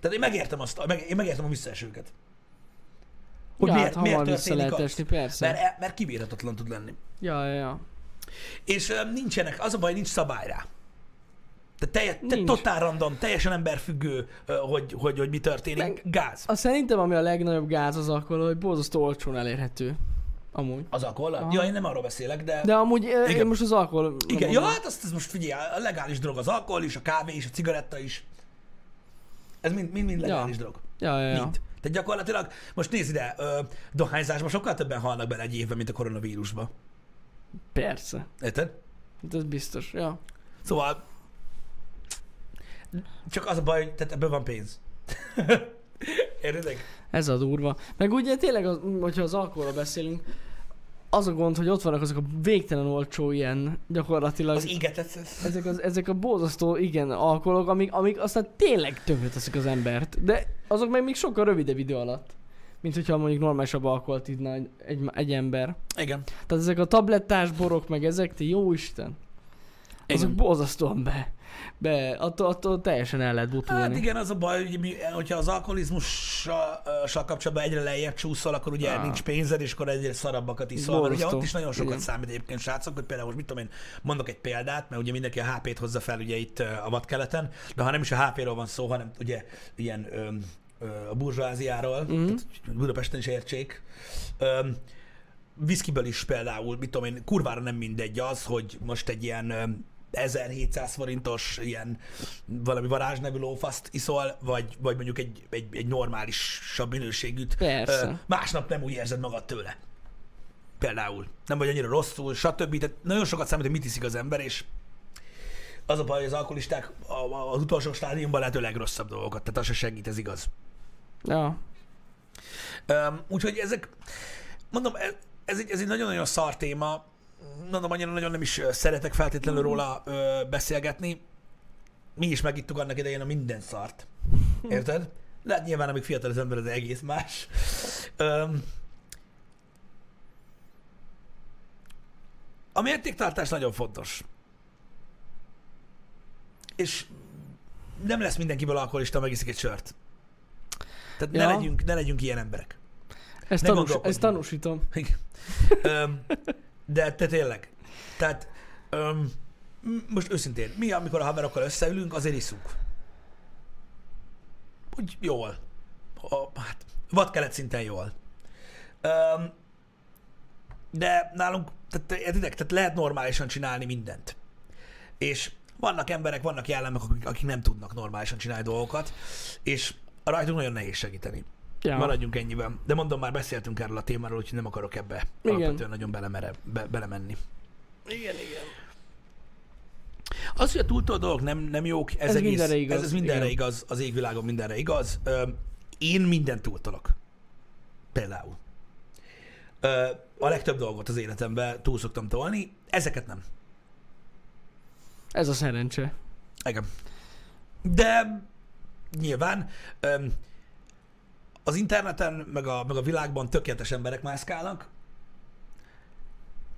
A: tehát én megértem, azt, meg, én megértem a visszaesőket. Hogy
B: ja,
A: miért,
B: hát
A: miért
B: hamar vissza
A: történik
B: lehet
A: az?
B: esni, persze.
A: Mert, e- mert kibírhatatlan tud lenni.
B: Ja, ja, ja.
A: És ö, nincsenek, az a baj, nincs szabály rá. Tehát telje, te
B: Nincs.
A: totál random, teljesen emberfüggő, ö, hogy, hogy, hogy mi történik.
B: Meg-
A: Gáz.
B: Azt szerintem ami a legnagyobb gáz az akkor, hogy borzasztó olcsón elérhető. Amúgy.
A: Az alkohol?
B: Aha.
A: Ja, én nem arról beszélek, de...
B: De amúgy Igen.
A: Igen.
B: én most az alkohol...
A: Igen, ja, hát azt, ez most figyelj, a legális drog az alkohol is, a kávé is, a cigaretta is. Ez mind, mind, mind legális
B: Ja.
A: drog.
B: Ja, ja, ja.
A: Mind. Tehát gyakorlatilag, most nézd ide, ö, dohányzásban sokkal többen halnak bele egy évben, mint a koronavírusba.
B: Persze.
A: Érted?
B: Hát Ez biztos, ja.
A: Szóval csak az a baj, hogy tehát ebből van pénz. *laughs* Értitek?
B: Ez a durva. Meg ugye tényleg, az, hogyha az alkoholra beszélünk, az a gond, hogy ott vannak azok a végtelen olcsó ilyen gyakorlatilag.
A: Az égetett.
B: ezek, az, ezek a borzasztó, igen, alkoholok, amik, amik aztán tényleg tönkre teszik az embert. De azok meg még sokkal rövidebb idő alatt. Mint hogyha mondjuk normálisabb alkoholt idna egy, egy, egy ember.
A: Igen.
B: Tehát ezek a tablettás borok, meg ezek, te jó Isten. Azok
A: Igen.
B: borzasztóan be. be attól, attól teljesen el lehet butulni.
A: Hát igen, az a baj, hogy mi, hogyha az alkoholizmussal ö, kapcsolatban egyre lejjebb csúszol, akkor ugye
B: Á.
A: nincs pénzed, és akkor egyre szarabbakat iszol. Mert ugye
B: Borzasztó.
A: ott is nagyon sokat
B: Igen.
A: számít egyébként, srácok, hogy például most mit tudom én, mondok egy példát, mert ugye mindenki a HP-t hozza fel ugye itt ö, a vadkeleten, de ha nem is a HP-ról van szó, hanem ugye ilyen ö, ö, a burzsóáziáról, mm-hmm. tehát Budapesten is értsék. Ö, viszkiből is például, mit tudom én, kurvára nem mindegy az, hogy most egy ilyen ö, 1700 forintos ilyen valami varázsnevű lófaszt iszol, vagy, vagy mondjuk egy, egy, egy normálisabb minőségűt.
B: Persze.
A: másnap nem úgy érzed magad tőle. Például. Nem vagy annyira rosszul, stb. Tehát nagyon sokat számít, hogy mit iszik az ember, és az a baj, hogy az alkoholisták a- a- az utolsó stádiumban lehető legrosszabb dolgokat, tehát az se segít, ez igaz.
B: Ja.
A: Öm, úgyhogy ezek, mondom, ez- ez egy, ez egy nagyon-nagyon szar téma, mondom, annyira nagyon nem is ö, szeretek feltétlenül róla ö, beszélgetni. Mi is megittuk annak idején a minden szart. Érted? Lehet nyilván, amíg fiatal az ember, az egész más. Öm, a mértéktartás nagyon fontos. És nem lesz mindenkiből alkoholista, megiszik egy sört. Tehát ne,
B: Ja.
A: legyünk, ne legyünk ilyen emberek.
B: Ezt,
A: Ne
B: tanús,
A: gondolkodj.
B: ezt tanúsítom.
A: Igen. Öm, de te tényleg. Tehát öm, m- most őszintén, mi, amikor a haverokkal összeülünk, azért iszunk. Úgy jól. A, hát, vadkelet szinten jól. Öm, de nálunk, tehát, értitek, tehát lehet normálisan csinálni mindent. És vannak emberek, vannak jellemek, akik, akik nem tudnak normálisan csinálni dolgokat, és rajtunk nagyon nehéz segíteni.
B: Ja.
A: Maradjunk ennyiben. De mondom, már beszéltünk erről a témáról, úgyhogy nem akarok ebbe
B: Igen.
A: alapvetően nagyon belemere, be, belemenni.
B: Igen, igen.
A: Az, hogy a túltól dolgok nem, nem jók, ez,
B: Ez
A: egész,
B: mindenre igaz,
A: Ez, ez mindenre
B: igen.
A: igaz, az égvilágon mindenre igaz. Ö, én mindent túltolok. Például. Ö, a legtöbb dolgot az életemben túl szoktam tolni, ezeket nem.
B: Ez a szerencse.
A: Igen. De nyilván öm, az interneten, meg a, meg a világban tökéletes emberek mászkálnak.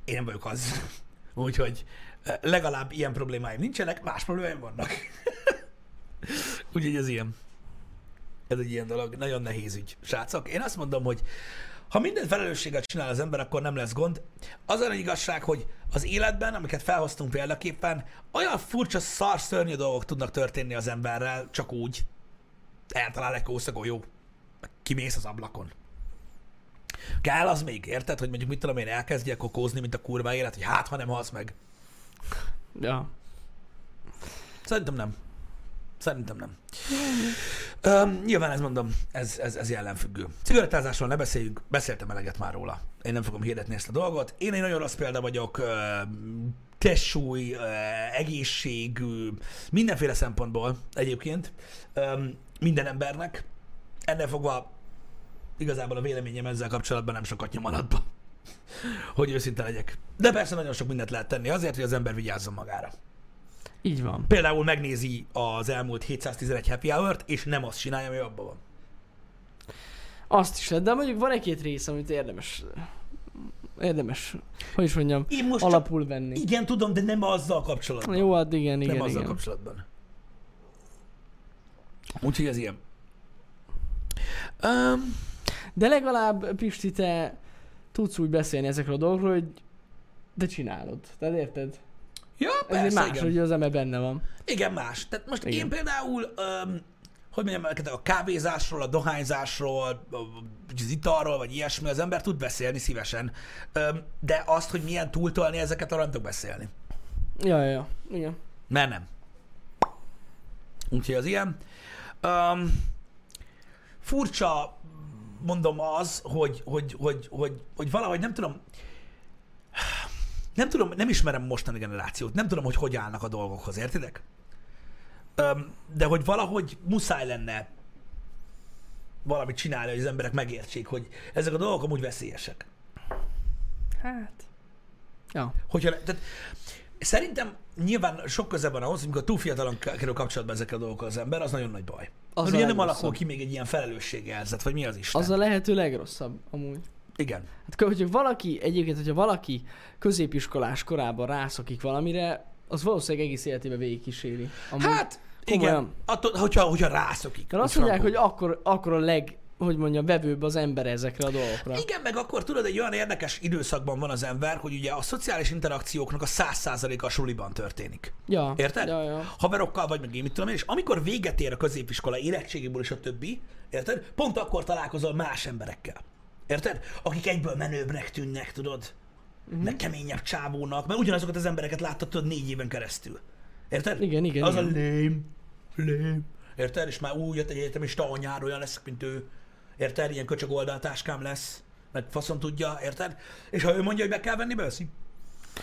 A: Én nem vagyok az. *laughs* Úgyhogy ö, legalább ilyen problémáim nincsenek, más problémáim vannak. *laughs* Úgyhogy ez ilyen. Ez egy ilyen dolog. Nagyon nehéz ügy, srácok. Én azt mondom, hogy ha minden felelősséget csinál az ember, akkor nem lesz gond. Az a nagy igazság, hogy az életben, amiket felhoztunk példaképpen, olyan furcsa szar szörnyű dolgok tudnak történni az emberrel, csak úgy. Eltalál egy kószagolyó, meg kimész az ablakon. Kell az még, érted, hogy mondjuk mit tudom én, elkezdjek kokózni, mint a kurva élet, hogy hát, ha nem halsz meg.
B: Ja.
A: Szerintem nem. Szerintem nem. Öm, nyilván ez mondom, ez, ez, ez jellemfüggő. Cigarettázásról ne beszéljünk, beszéltem eleget már róla. Én nem fogom hirdetni ezt a dolgot. Én egy nagyon rossz példa vagyok, öm, testsúly, ö, egészség, ö, mindenféle szempontból egyébként, öm, minden embernek. Ennél fogva igazából a véleményem ezzel kapcsolatban nem sokat nyom alatba, *laughs* hogy őszinte legyek. De persze nagyon sok mindent lehet tenni azért, hogy az ember vigyázzon magára.
B: Így van.
A: Például megnézi az elmúlt 711 happy hour-t, és nem azt csinálja, ami abban van.
B: Azt is lehet, de mondjuk van egy-két rész, amit érdemes érdemes, hogy is mondjam,
A: Én most Alap...
B: alapul venni.
A: csak, igen, tudom, de nem azzal kapcsolatban.
B: Jó, hát igen, igen,
A: nem azzal
B: igen.
A: kapcsolatban. Úgyhogy ez ilyen. Um,
B: De legalább, Pisti, te tudsz úgy beszélni ezekről a dolgokról, hogy de csinálod. Tehát érted?
A: ja,
B: Ez egy
A: persze,
B: más,
A: igen.
B: hogy az ember benne van.
A: Igen, más. Tehát most
B: Igen.
A: igen. én például, um, hogy mondjam, neked, a kávézásról, a dohányzásról, a- az italról, vagy ilyesmi, az ember tud beszélni szívesen, um, de azt, hogy milyen túltolni ezeket, arra nem tudok beszélni.
B: Ja, ja, ja. Igen.
A: Mert nem. Úgyhogy az ilyen. Um, furcsa, mondom az, hogy, hogy, hogy, hogy, hogy valahogy nem tudom, nem tudom, nem ismerem a mostani generációt, nem tudom, hogy hogy állnak a dolgokhoz, értitek? Öm, de hogy valahogy muszáj lenne valamit csinálni, hogy az emberek megértsék, hogy ezek a dolgok amúgy veszélyesek.
B: Hát. Ja.
A: Hogyha, le- tehát, szerintem nyilván sok köze van ahhoz, amikor túl fiatalon k- kerül kapcsolatba ezekkel a dolgokkal az ember, az nagyon nagy baj.
B: Az
A: Az
B: a
A: ugye nem
B: legrosszabb.
A: alakul ki még egy ilyen felelősségjelzet, vagy mi az Isten.
B: Az a lehető legrosszabb, amúgy.
A: Igen.
B: Hát, kö- hogyha valaki, egyébként, hogyha valaki középiskolás korában rászokik valamire, az valószínűleg egész életében végigkíséri. Amúgy.
A: Hát,
B: komolyan.
A: igen, attól, hogyha, hogyha rászokik.
B: Mert azt
A: úgy
B: mondják, hogy
A: frankul.
B: akkor, akkor a leg, hogy mondjam, vevőbb az ember ezekre a dolgokra.
A: Igen, meg akkor tudod, egy olyan érdekes időszakban van az ember, hogy ugye a szociális interakcióknak a száz százaléka a suliban történik.
B: Ja.
A: Érted?
B: Ja, ja.
A: Haverokkal vagy, meg én mit tudom én, és amikor véget ér a középiskola érettségiből és a többi, érted? Pont akkor találkozol más emberekkel. Érted? Akik egyből menőbbnek tűnnek, tudod?
B: Mhm.
A: Uh-huh. Meg keményebb csávónak, mert ugyanazokat az embereket láttad tudod négy éven keresztül. Érted?
B: Igen, igen,
A: Az
B: igen.
A: a lém, lém. Érted? És már úgy jött egy egyetemista anyár, olyan leszek, mint ő. Érted? Ilyen köcsög oldaltáskám lesz. Meg faszom tudja, érted? És ha ő mondja, hogy be kell venni, beveszi.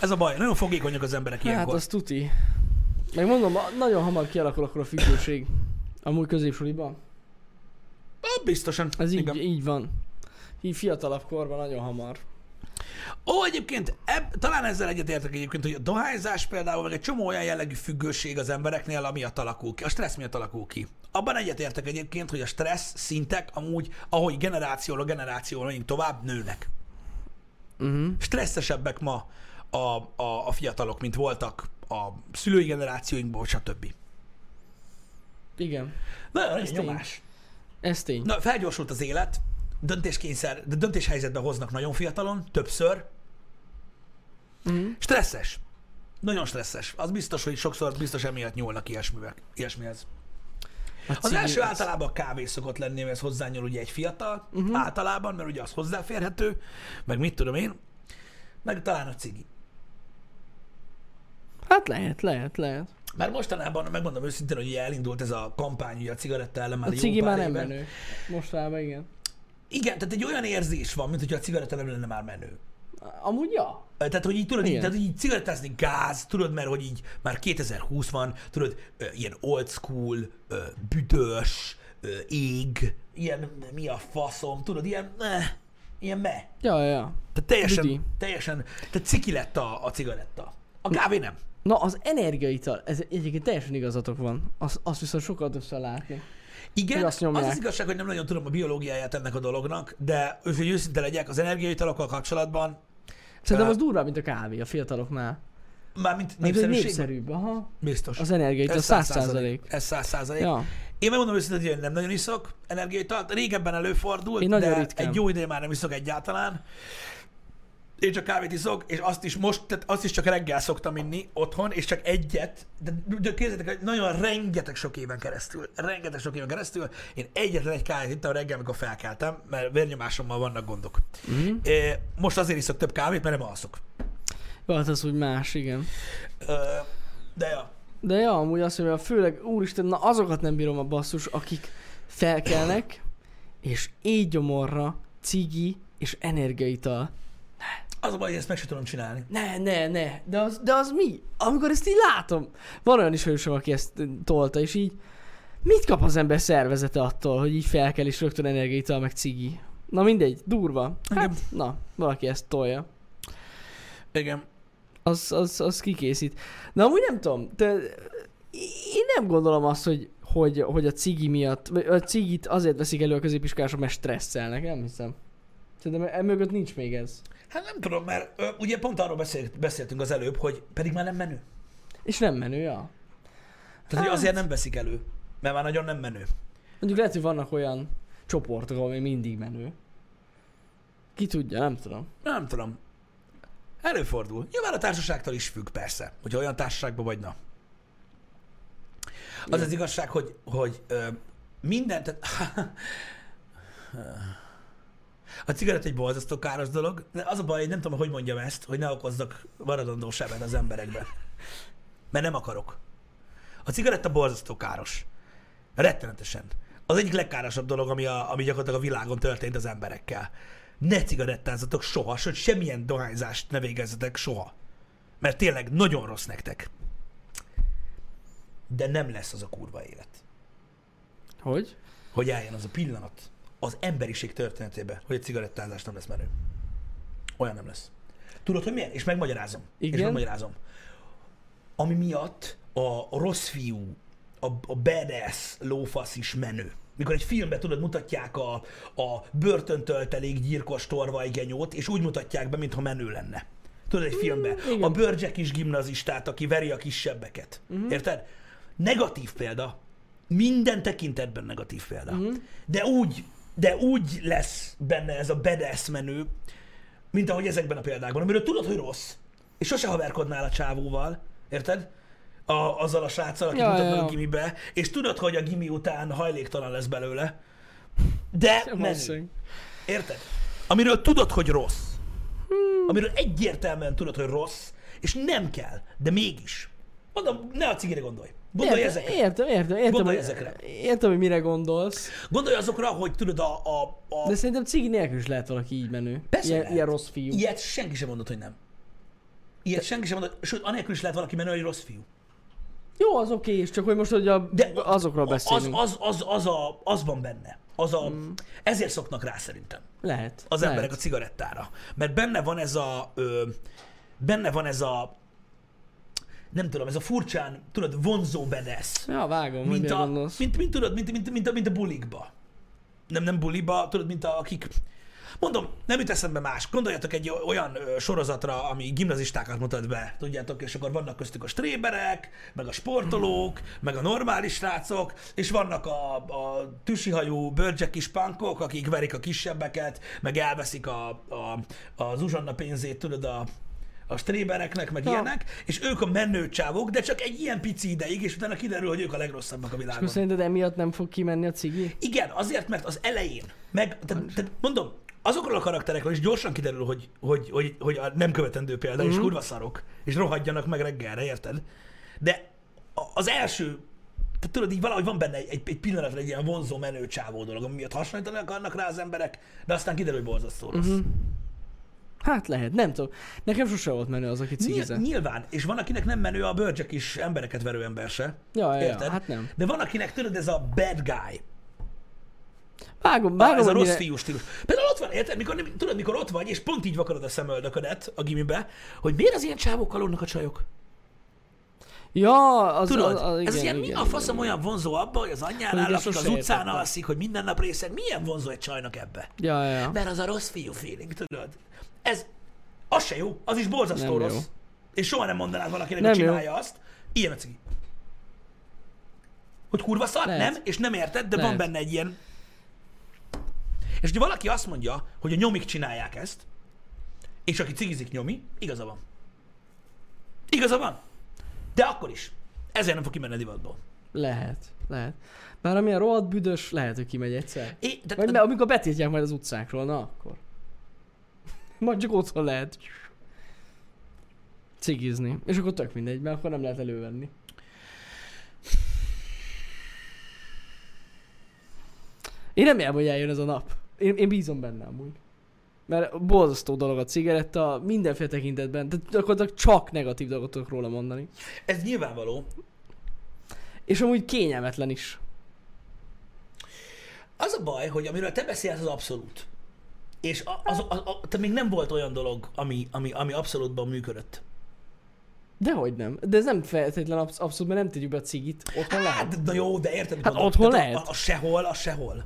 A: Ez a baj. Nagyon fogékonyak az emberek ilyenkor.
B: Hát, az tuti. Meg mondom, a- nagyon hamar kialakul akkor a függőség. Amúgy középsuliban.
A: Ah, Biztosan.
B: Ez így,
A: Igen.
B: így van. Így fiatalabb korban nagyon hamar.
A: Ó, egyébként eb, talán ezzel egyetértek egyébként, hogy a dohányzás például, meg egy csomó olyan jellegű függőség az embereknél, ami miatt alakul ki, a stressz miatt alakul ki. Abban egyetértek egyébként, hogy a stressz szintek amúgy, ahogy generációra generációra menjünk tovább, nőnek.
B: Uh-huh.
A: Stresszesebbek ma a, a, a fiatalok, mint voltak a szülői generációinkból, stb.
B: Igen.
A: Nagyon nagy
B: Ez tény.
A: nyomás.
B: Ez tény.
A: Na, felgyorsult az élet, döntéskényszer, de döntéshelyzetbe hoznak nagyon fiatalon, többször.
B: Mhm.
A: Stresszes. Nagyon stresszes. Az biztos, hogy sokszor biztos emiatt nyúlnak ilyesmivek, ilyesmihez.
B: A
A: Az
B: cigi-
A: első általában a kávé szokott lenni, mert ez hozzányúl ugye egy fiatal,
B: Mhm.
A: uh-huh. általában, mert ugye az hozzáférhető, meg mit tudom én, meg talán a cigi.
B: Hát lehet, lehet, lehet.
A: Mert mostanában, megmondom őszintén, hogy ugye elindult ez a kampány, ugye a cigaretta ellen már
B: A
A: jó
B: cigi
A: pár
B: már nem
A: éve.
B: menő. Mostában igen.
A: Igen, tehát egy olyan érzés van, mint hogyha a cigaretta nem lenne már menő.
B: Amúgy ja.
A: Tehát, hogy így tudod, így,
B: Igen.
A: tehát így cigarettázni gáz, tudod, mert hogy így már 2020 van, tudod, ö, ilyen old school, ö, büdös, ö, ég, ilyen mi a faszom, tudod, ilyen eh, ilyen me.
B: Ja, ja.
A: Tehát teljesen,
B: Büdi.
A: teljesen, tehát ciki lett a, a cigaretta. A kávé nem.
B: Na, az energiaital, ez egyébként teljesen igazatok van. Azt, azt viszont sokat össze látni.
A: Igen,
B: Meg azt
A: az,
B: nyomják.
A: az igazság, hogy nem nagyon tudom a biológiáját ennek a dolognak, de hogy őszinte legyek, az energiaitalokkal kapcsolatban,
B: Szerintem
A: Ö,
B: az durvább, mint a kávé a fiataloknál.
A: mármint
B: Mert Hát, hogy
A: népszerűség,
B: népszerűbb, aha.
A: biztos.
B: Az energiaital
A: Ez
B: 100 százalék.
A: Ez 100 százalék.
B: Ja.
A: Én megmondom őszintén, hogy nem nagyon iszok energiaitalt. Régebben előfordult,
B: Én
A: Én
B: nagyon
A: de
B: ritkán.
A: egy jó ideje már nem iszok egyáltalán. Én csak kávét iszok, és azt is most, tehát azt is csak reggel szoktam inni otthon, és csak egyet, de, de képzeljétek, hogy nagyon rengeteg sok éven keresztül, rengeteg sok éven keresztül, én egyetlen egy kávét ittam reggel, amikor felkeltem, mert vérnyomásommal vannak gondok.
B: Mhm.
A: É, most azért iszok több kávét, mert nem alszok.
B: Jó, hát az úgy más, igen.
A: Ö, De ja,
B: De ja, amúgy azt mondja, főleg, úristen, na azokat nem bírom a basszus, akik felkelnek, és így gyomorra, cigi és energiaital.
A: az a baj, hogy ezt meg sem tudom csinálni.
B: Ne, ne, ne, de az, de az mi? Amikor ezt így látom. Van olyan ismerősöm, aki ezt tolta, és így mit kap az ember szervezete attól, hogy így felkel és rögtön energiaital meg cigi? Na mindegy, durva. Hát,
A: Igen.
B: na, valaki ezt tolja.
A: Igen.
B: Az, az, az kikészít. Na amúgy nem tudom, te, én nem gondolom azt, hogy, hogy, hogy a cigi miatt, vagy a cigit azért veszik elő a középiskolások, mert stresszelnek, nem hiszem. Szerintem emögött e nincs még ez.
A: Hát nem tudom, mert ö, ugye pont arról beszélt, beszéltünk az előbb, hogy pedig már nem menő.
B: És nem menő, ja.
A: Tehát, hogy azért nem veszik elő, mert már nagyon nem menő.
B: Mondjuk lehet, hogy vannak olyan csoportok, ami mindig menő. Ki tudja, nem tudom.
A: Nem tudom. Előfordul. Nyilván a társaságtól is függ, persze, hogy olyan társaságban vagy, na. Az az igazság, hogy, hogy ö, minden, tehát *laughs* a cigarett egy borzasztó káros dolog, de az a baj, hogy nem tudom, hogy mondjam ezt, hogy ne okozzak maradandó sebet az emberekben. Mert nem akarok. A cigaretta borzasztó káros. Rettenetesen. Az egyik legkárosabb dolog, ami, a, ami gyakorlatilag a világon történt az emberekkel. Ne cigarettázatok soha, sőt semmilyen dohányzást ne végezzetek soha. Mert tényleg nagyon rossz nektek. De nem lesz az a kurva élet,
B: Hogy?
A: hogy eljön az a pillanat az emberiség történetében, hogy a cigarettázás nem lesz menő. Olyan nem lesz. Tudod, hogy miért? És megmagyarázom. És
B: Igen?
A: megmagyarázom. Ami miatt a, a rossz fiú, a, a badass lófasz is menő. Mikor egy filmben, tudod, mutatják a, a börtöntöltelék gyilkos torvajgenyót, és úgy mutatják be, mintha menő lenne. Tudod, egy filmben.
B: igen.
A: a bőrcsek is gimnazistát, aki veri a kisebbeket. Érted? Negatív példa. Minden tekintetben negatív példa. De úgy, de úgy lesz benne ez a badass menő, mint ahogy ezekben a példákban, amiről tudod, hogy rossz, és sose haverkodnál a csávóval, érted? A, azzal a sráccal, akit
B: Ja,
A: mutatnak
B: ja,
A: a
B: ja.
A: gimibe, és tudod, hogy a gimi után hajléktalan lesz belőle, de menő.
B: Valószínűleg.
A: Érted? Amiről tudod, hogy rossz. Amiről egyértelműen tudod, hogy rossz, és nem kell, de mégis. Mondom, ne a cigire gondolj. Gondolj
B: Értem,
A: ezekre.
B: Értem, értem, értem.
A: Gondolj
B: hogy-
A: ezekre.
B: Értem, hogy mire gondolsz.
A: Gondolj azokra, hogy tudod, a, a, a
B: De szerintem cigi nélkül is lehet valaki így menő.
A: Persze
B: ilyen,
A: lehet.
B: ilyen rossz fiú.
A: Ilyet senki sem mondott, hogy nem. Ilyet senki sem mondott, sőt, anélkül is lehet valaki menő, hogy rossz fiú.
B: Jó, az oké, és csak hogy most hogy a,
A: De
B: azokról
A: Az,
B: beszélünk. Az,
A: az, az, az, a, az van benne. Az a, mm. Ezért szoknak rá szerintem
B: lehet.
A: az
B: lehet.
A: emberek a cigarettára. Mert benne van ez a... Ö, benne van ez a... Nem tudom, ez a furcsán, tudod, vonzó bedesz.
B: Ja, vágom, hogy
A: mint
B: mire
A: a,
B: gondolsz.
A: mint, mint, tudod, mint, mint, mint, a, mint a bulikba. Nem, nem buliba, tudod, mint a, akik... Mondom, nem jut eszembe más. Gondoljatok egy o- olyan ö, sorozatra, ami gimnazistákat mutat be, tudjátok, és akkor vannak köztük a stréberek, meg a sportolók, meg a normális srácok, és vannak a, a tüsihajú bőrcsek kis punkok, akik verik a kisebbeket, meg elveszik a, a, az uzsanna pénzét, tudod, a, a strébereknek, meg
B: Ja.
A: ilyenek, és ők a menő csávok, de csak egy ilyen pici ideig, és utána kiderül, hogy ők a legrosszabbak a világon.
B: Akkor szerinted emiatt nem fog kimenni a cigi?
A: Igen, azért, mert az elején, meg, te, te, mondom, azokról a karakterekről is gyorsan kiderül, hogy, hogy, hogy, hogy a nem követendő példa,
B: Mhm.
A: mm-hmm. és kurva szarok, és rohadjanak meg reggelre, érted? De a- az első, te tudod, így valahogy van benne egy, egy, egy pillanatra egy ilyen vonzó menő csávó dolog, ami miatt hasonlítani akarnak rá az emberek, de aztán kiderül, hogy borzasztó rossz.
B: Mhm,
A: Mm-hmm.
B: Hát lehet, nem tudom. Nekem sose volt menő az, aki cigizett.
A: Nyilván, és van, akinek nem menő a bőrcsek is embereket verő ember se.
B: Ja, ja,
A: Érted?
B: ja, hát nem.
A: De van, akinek tudod, ez a bad guy, Vágom,
B: Vágom, vágom,
A: Ah, ez a
B: hogy
A: rossz
B: mire-
A: fiú stílus. Például ott van, érted? Mikor, nem- tudod, mikor ott vagy, és pont így vakarod a szemöldöködet a gimibe, hogy miért az ilyen csávókkal unnak a csajok?
B: Ja, az,
A: Tudod,
B: az, az,
A: ez
B: igen,
A: ilyen, mi
B: igen,
A: a faszom olyan vonzó abban, hogy az anyjánál
B: Hogy ezt
A: lakik, az
B: sose
A: utcán
B: értettem.
A: alszik, hogy minden nap részeg, milyen vonzó egy csajnak ebbe?
B: Ja, ja, ja.
A: Mert az a rossz fiú feeling, tudod? Ez, az se jó, az is borzasztó
B: Nem jó.
A: rossz. És soha nem mondanád valakinek,
B: Nem
A: hogy
B: jó.
A: csinálja azt. Ilyen a cigi. Hogy kurva szar?
B: Lehet.
A: Nem, és nem érted, de van
B: Lehet.
A: benne egy ilyen... És ha valaki azt mondja, hogy a nyomik csinálják ezt, és aki cigizik nyomi, igaza van. Igaza van. De akkor is. Ezért nem fog kimenni a divatból.
B: Lehet, lehet. Bár amilyen rohadt büdös, lehet, hogy kimegy egyszer.
A: É, de,
B: Vagy mert amikor betiltják majd az utcákról, na akkor. *laughs* Majd csak otthon lehet cigizni. És akkor tök mindegy, mert akkor nem lehet elővenni. Én remélem, hogy eljön ez a nap. Én, én bízom benne amúgy. Mert borzasztó dolog a cigaretta, mindenféle tekintetben, tehát gyakorlatilag csak negatív dolgot tudok róla mondani.
A: ez nyilvánvaló.
B: És amúgy kényelmetlen is.
A: Az a baj, hogy amiről te beszélsz, az abszolút. És a- az, az, a, te még nem volt olyan dolog, ami, ami, ami abszolútban működött.
B: Dehogy nem. De ez nem feltétlen absz- abszolút, mert nem tegyük be a cigit. Otthon lehet.
A: Hát, na jó, de érted, mit
B: Hát
A: mondok.
B: otthon
A: Tehát
B: lehet.
A: A, a, a sehol, a sehol.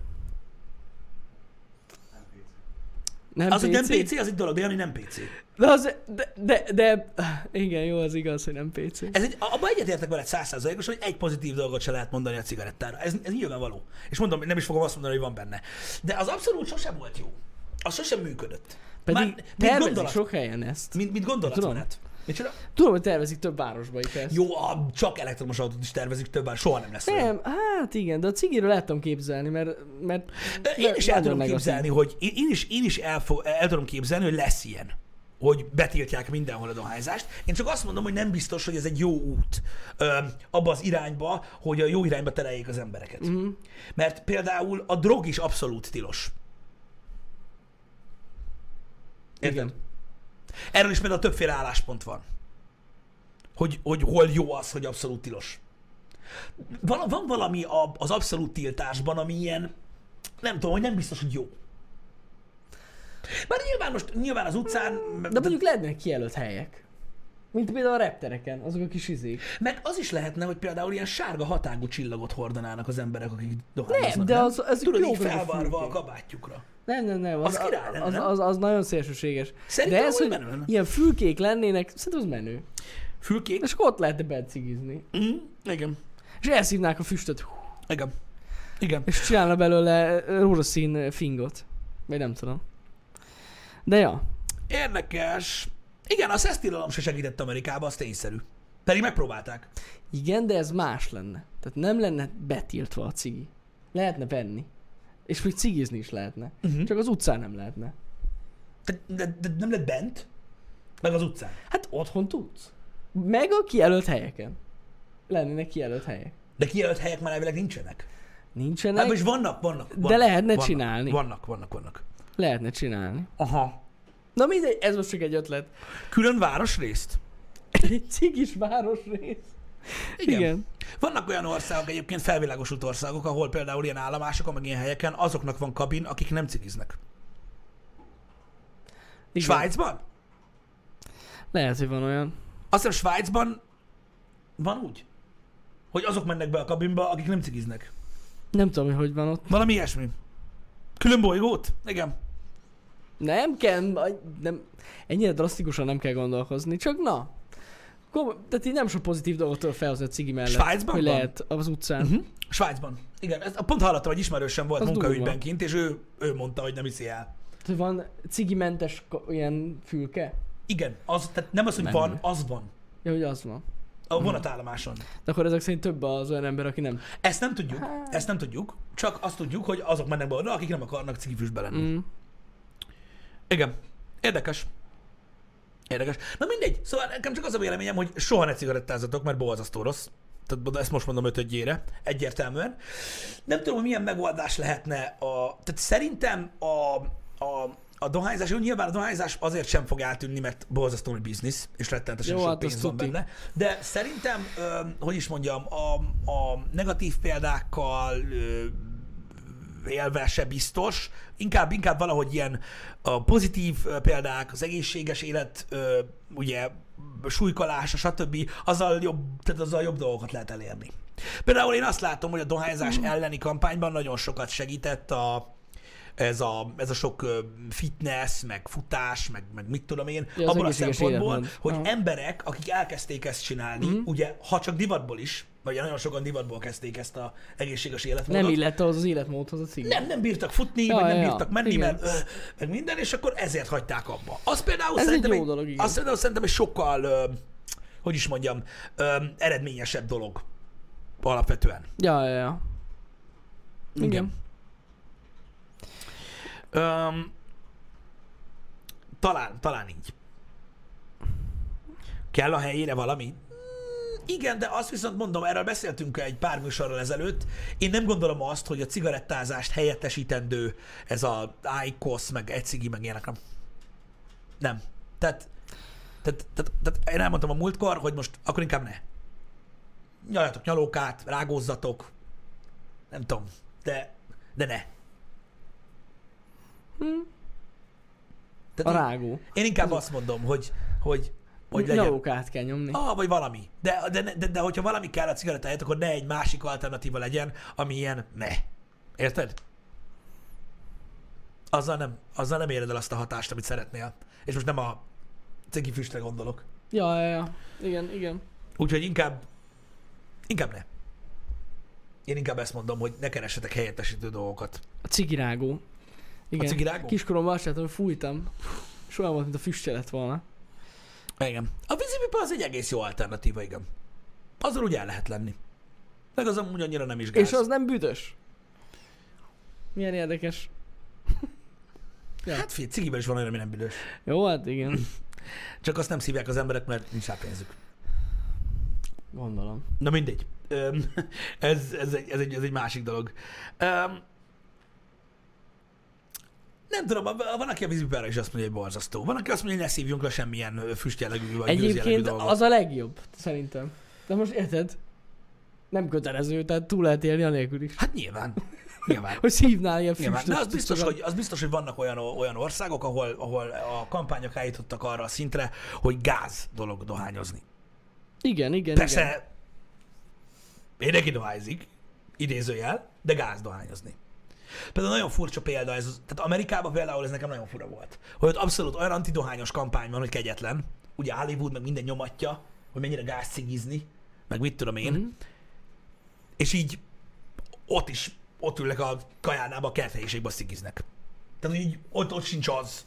B: Nem
A: Az, hogy nem
B: PC?
A: PC, az egy dolog, de Jani nem PC.
B: De az, de, de, de, igen, jó, az igaz, hogy nem PC.
A: Ez egy, abban egyetértek veled százszázalékos, hogy egy pozitív dolgot se lehet mondani a cigarettára. Ez, ez nyilvánvaló. És mondom, nem is fogom azt mondani, hogy van benne. De az abszolút sosem volt jó. Az sosem működött. Már,
B: Pedig
A: mint,
B: tervezik
A: gondolat,
B: sok helyen ezt.
A: mint, mint gondolatmenet. Micsoda?
B: Tudom, hogy tervezik több városba is ezt.
A: Jó, a, csak elektromos autót is tervezik, többen soha nem lesz. olyan.
B: Nem, hát igen, de a cigiről el tudom képzelni, mert... mert,
A: Ö,
B: mert
A: Én is el
B: nagyon
A: tudom
B: negatív.
A: képzelni, hogy én, én is, én is el, fo- el tudom képzelni, hogy lesz ilyen hogy betiltják mindenhol a dohányzást. Én csak azt mondom, hogy nem biztos, hogy ez egy jó út ö, abba az irányba, hogy a jó irányba tereljék az embereket. Mm. Mert például a drog is abszolút tilos.
B: Igen.
A: Erről is például többféle álláspont van. Hogy, hogy hol jó az, hogy abszolút tilos. Van, van valami a, az abszolút tiltásban, ami ilyen, nem tudom, hogy nem biztos, hogy jó. Bár nyilván most, nyilván az utcán,
B: Mm, De mondjuk lennének kijelölt helyek. Mint például a reptereken, azok a kis izék.
A: meg az is lehetne, hogy például ilyen sárga hatágú csillagot hordanának az emberek, akik dohányoznak.
B: Nem, de az- az
A: Tudod,
B: jó
A: így
B: dolog a
A: felvarva a
B: fülkék.
A: kabátjukra.
B: Nem, nem, nem.
A: Az király lenne,
B: az,
A: nem?
B: az, az, nagyon szélsőséges.
A: Szerintem
B: de ez,
A: amúgy
B: hogy
A: menő lenne.
B: ilyen fülkék lennének, szerintem az menő.
A: Fülkék?
B: És akkor ott lehetne bent cigizni.
A: Mm, igen.
B: És elszívnák a füstöt, hú,
A: Igen. Igen.
B: és csinálna belőle eh, rózsaszín fingot. Vagy nem tudom. De ja,
A: Érdekes. Igen, a szesztilalom se segített Amerikába, az tényszerű. Pedig megpróbálták.
B: igen, de ez más lenne. Tehát nem lenne betiltva a cigi. Lehetne venni. És még cigizni is lehetne.
A: Mhm.
B: Uh-huh. Csak az utcán nem lehetne.
A: De, de, de nem lett bent, meg az utcán.
B: Hát otthon tudsz. Meg a kijelölt helyeken. Lennének kijelölt helyek.
A: De kijelölt helyek már elvileg nincsenek.
B: Nincsenek,
A: Hát most vannak, vannak, vannak.
B: de lehetne
A: vannak,
B: csinálni.
A: Vannak, vannak, vannak.
B: lehetne csinálni.
A: Aha.
B: Na mindegy, ez most csak egy ötlet.
A: Külön városrészt?
B: Egy cigis városrész. Igen. Igen.
A: Vannak olyan országok, egyébként felvilágosult országok, ahol például ilyen állomásokon, meg ilyen helyeken azoknak van kabin, akik nem cigiznek.
B: Igen.
A: Svájcban?
B: Lehet, hogy van olyan.
A: Azt hiszem Svájcban van úgy, hogy azok mennek be a kabinba, akik nem cigiznek.
B: Nem tudom, hogy hogy van ott.
A: Valami ilyesmi. Külön bolygót? Igen.
B: Nem kell, aj- nem, ennyire drasztikusan nem kell gondolkozni, csak na. Kom- tehát így nem sok pozitív dolgot tudok felhozni a cigi mellett.
A: Svájcban
B: Hogy
A: van? Mhm.
B: lehet az utcán. Uh-huh.
A: Svájcban. Igen, ezt a pont hallottam, hogy ismerősen volt
B: Az
A: munkaügyben
B: durva.
A: kint, és ő, ő mondta, hogy nem hiszi el.
B: Tehát van cigimentes ko- ilyen fülke?
A: Igen, az, tehát nem az, hogy
B: Menő.
A: van, az van.
B: Ja, hogy az van.
A: A vonatállomáson.
B: De akkor ezek szerint több az olyan ember, aki nem.
A: Ezt nem tudjuk, ezt nem tudjuk, csak azt tudjuk, hogy azok mennek be oda, akik nem akarnak cigifüstbe lenni.
B: Mm.
A: Igen. Érdekes. Érdekes. Na mindegy. Szóval nekem csak az a véleményem, hogy soha ne cigarettázatok, mert bohazasztó rossz. Tehát bo- ezt most mondom ötödjére, egyértelműen. Nem tudom, hogy milyen megoldás lehetne a... Tehát szerintem a, a, a dohányzás, jó, nyilván a dohányzás azért sem fog eltűnni, mert bohazasztó nagy biznisz, és rettenetesen
B: Jó,
A: sok
B: hát az
A: pénz van
B: tuti.
A: benne. De szerintem, öm, hogy is mondjam, a, a negatív példákkal ö, élve se biztos, inkább, inkább valahogy ilyen a pozitív ö, példák, az egészséges élet, ö, ugye súlykolása, stb. azzal jobb, tehát azzal jobb dolgokat lehet elérni. Például én azt látom, hogy a dohányzás
B: Mm.
A: elleni kampányban nagyon sokat segített a ez a, ez a sok ö, fitness, meg futás, meg, meg mit tudom én,
B: Ja, az
A: abban a
B: egészséges
A: szempontból,
B: életmód.
A: hogy
B: Aha.
A: emberek, akik elkezdték ezt csinálni,
B: Mm.
A: ugye, ha csak divatból is, vagy nagyon sokan divatból kezdték ezt az egészséges életmódot.
B: Nem illett ahhoz az életmódhoz a cigi.
A: Nem, nem bírtak futni,
B: Ja,
A: vagy nem
B: ja, ja.
A: bírtak menni,
B: Igen.
A: mert ö, meg minden, és akkor ezért hagyták abba. Az például
B: Ez egy
A: szerintem,
B: jó dolog, igen.
A: az például szerintem egy sokkal, ö, hogy is mondjam, ö, eredményesebb dolog alapvetően.
B: Ja, ja, ja. Igen.
A: Igen. Öm, talán, talán így. Kell a helyére valami? Mm, Igen, de azt viszont mondom, erről beszéltünk egy pár műsorral ezelőtt, én nem gondolom azt, hogy a cigarettázást helyettesítendő ez a IQOS, meg ecigi, meg ilyenek nem. Nem. Tehát, tehát, tehát, tehát én elmondtam a múltkor, hogy most akkor inkább ne. Nyaljatok nyalókát, rágózzatok, nem tudom, de, de ne.
B: A
A: Tehát én,
B: rágó.
A: én inkább azt mondom, hogy, hogy, hogy legyen.
B: Nyalókát kell nyomni.
A: Ah, vagy valami. De, de, de, de, de hogyha valami kell a cigarettáját, akkor ne egy másik alternatíva legyen, ami ilyen ne. Érted? azzal nem, azzal nem éred el azt a hatást, amit szeretnél. És most nem a cigi füstre gondolok.
B: Ja, ja, ja. Igen, igen.
A: Úgyhogy inkább, inkább ne. Én inkább ezt mondom, hogy ne keressetek helyettesítő dolgokat.
B: A cigirágó. Igen.
A: A cigirágó?
B: Kiskoromban azt láttam, hogy fújtam. És olyan volt, mint a füstje lett volna.
A: Igen. A vízipipa az egy egész jó alternatíva, igen. Azzal úgy el lehet lenni. Meg az amúgy annyira nem is gáz.
B: És az nem büdös. Milyen érdekes.
A: Hát figyelj, cigiben is van olyan, ami nem büdös.
B: Jó, hát igen.
A: Csak azt nem szívják az emberek, mert nincs rá pénzük.
B: *sniffs* Gondolom.
A: Na mindegy. Öm, *laughs* ez, ez, egy, ez, egy, ez egy másik dolog. Öm, nem tudom, a- van, aki a vízipipára is azt mondja, hogy borzasztó. Van, aki azt mondja, hogy ne szívjunk le semmilyen ö, füstjellegű vagy
B: Egyébként
A: dolgot.
B: az a legjobb, szerintem. De most érted? Nem kötelező, tehát túl lehet élni anélkül is. *sniffs*
A: Hát nyilván. Nyilván.
B: Hogy szívnál ilyen
A: Nyilván.
B: füstöt.
A: De hát az biztos,
B: cuccokat.
A: hogy, az biztos, hogy vannak olyan, olyan országok, ahol, ahol a kampányok állítottak arra a szintre, hogy gáz dolog dohányozni.
B: Igen, igen, igen.
A: Persze mindenki dohányzik, idézőjel, de gáz dohányozni. Például nagyon furcsa példa ez, tehát Amerikában például ez nekem nagyon fura volt, hogy ott abszolút olyan antidohányos kampány van, hogy kegyetlen, ugye Hollywood meg minden nyomatja, hogy mennyire gáz cigizni, meg mit tudom én,
B: Mhm.
A: és így ott is, ott ülnek a kajánába, a kerthelyiségbe szigiznek. Tehát így ott, ott sincs az.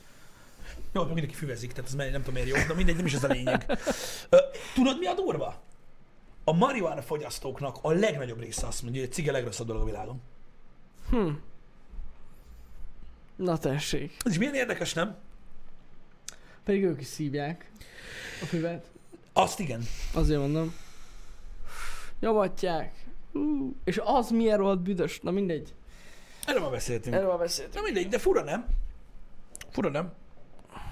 A: Jó, akkor mindenki füvezik, tehát ez nem tudom miért jó, de mindegy, nem is ez a lényeg. Ö, Tudod, mi a durva? A marihuana fogyasztóknak a legnagyobb része azt mondja, hogy a cigi a legrosszabb dolog a világon.
B: Na tessék.
A: Ez is milyen érdekes, nem?
B: Pedig ők is szívják a füvet.
A: Azt igen.
B: Azért mondom. Nyomatják. Ú, és az milyen rohadt büdös. Na mindegy.
A: Erről már beszéltünk.
B: Erről már beszéltünk.
A: Na mindegy, de fura nem? Fura nem?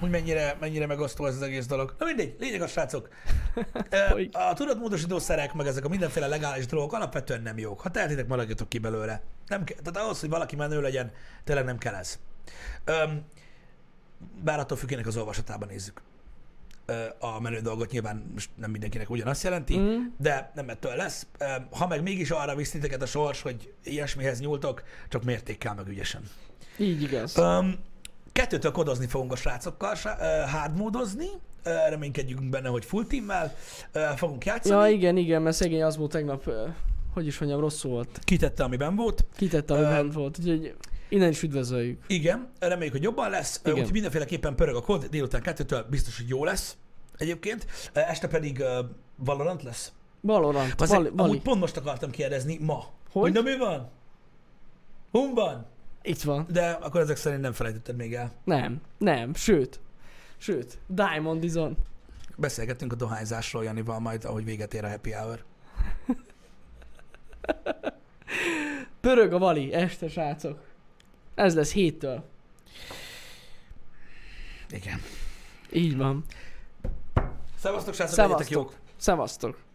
A: Hogy mennyire, mennyire megosztó ez az egész dolog. Na mindegy, lényeg a srácok. Ö,
B: Folyik.
A: A tudatmódosítószerek, meg ezek a mindenféle legális dolgok alapvetően nem jók. Ha tehetitek, maradjatok ki belőle. Nem ke- tehát ahhoz, hogy valaki menő legyen, tényleg nem kell ez. Öm, bár attól függének az olvasatában nézzük. Ö, a menő dolgot nyilván most nem mindenkinek ugyanazt jelenti, mm. de nem ettől lesz. Öm, ha meg mégis arra visz titeket a sors, hogy ilyesmihez nyúltok, csak mértékkel meg ügyesen.
B: Így igaz.
A: Um, kettőtől kodozni fogunk a srácokkal, srá- ö, hard módozni, Ö, reménykedjünk benne, hogy full teammel ö, fogunk játszani.
B: Ja,
A: Ja,
B: igen, igen, mert szegény az volt tegnap, ö, hogy is mondjam, rosszul volt.
A: Kitette, amiben volt.
B: Kitette, ami
A: Ö,
B: bent volt, úgyhogy innen is üdvözöljük.
A: Igen, reméljük, hogy jobban lesz. Igen.
B: Igen.
A: Úgyhogy mindenféleképpen pörög a kod, délután kettőtől biztos, hogy jó lesz egyébként. Ö, Este pedig ö, Valorant lesz.
B: Valorant,
A: Az
B: Vali, Vali.
A: Amúgy pont most akartam kérdezni ma. Hogy?
B: Hogy?
A: hogy na mi van? Hun van?
B: Itt van.
A: De akkor ezek szerint nem felejtetted még el.
B: Nem, nem, sőt. Sőt, Diamond Izon.
A: Beszélgettünk a dohányzásról Janival majd, ahogy véget ér a happy hour.
B: Pörög a Vali, este srácok. Ez lesz héttől.
A: Igen.
B: Így van.
A: Szevasztok srácok, legyetek
B: Szevasztok.
A: jók!
B: Szevasztok.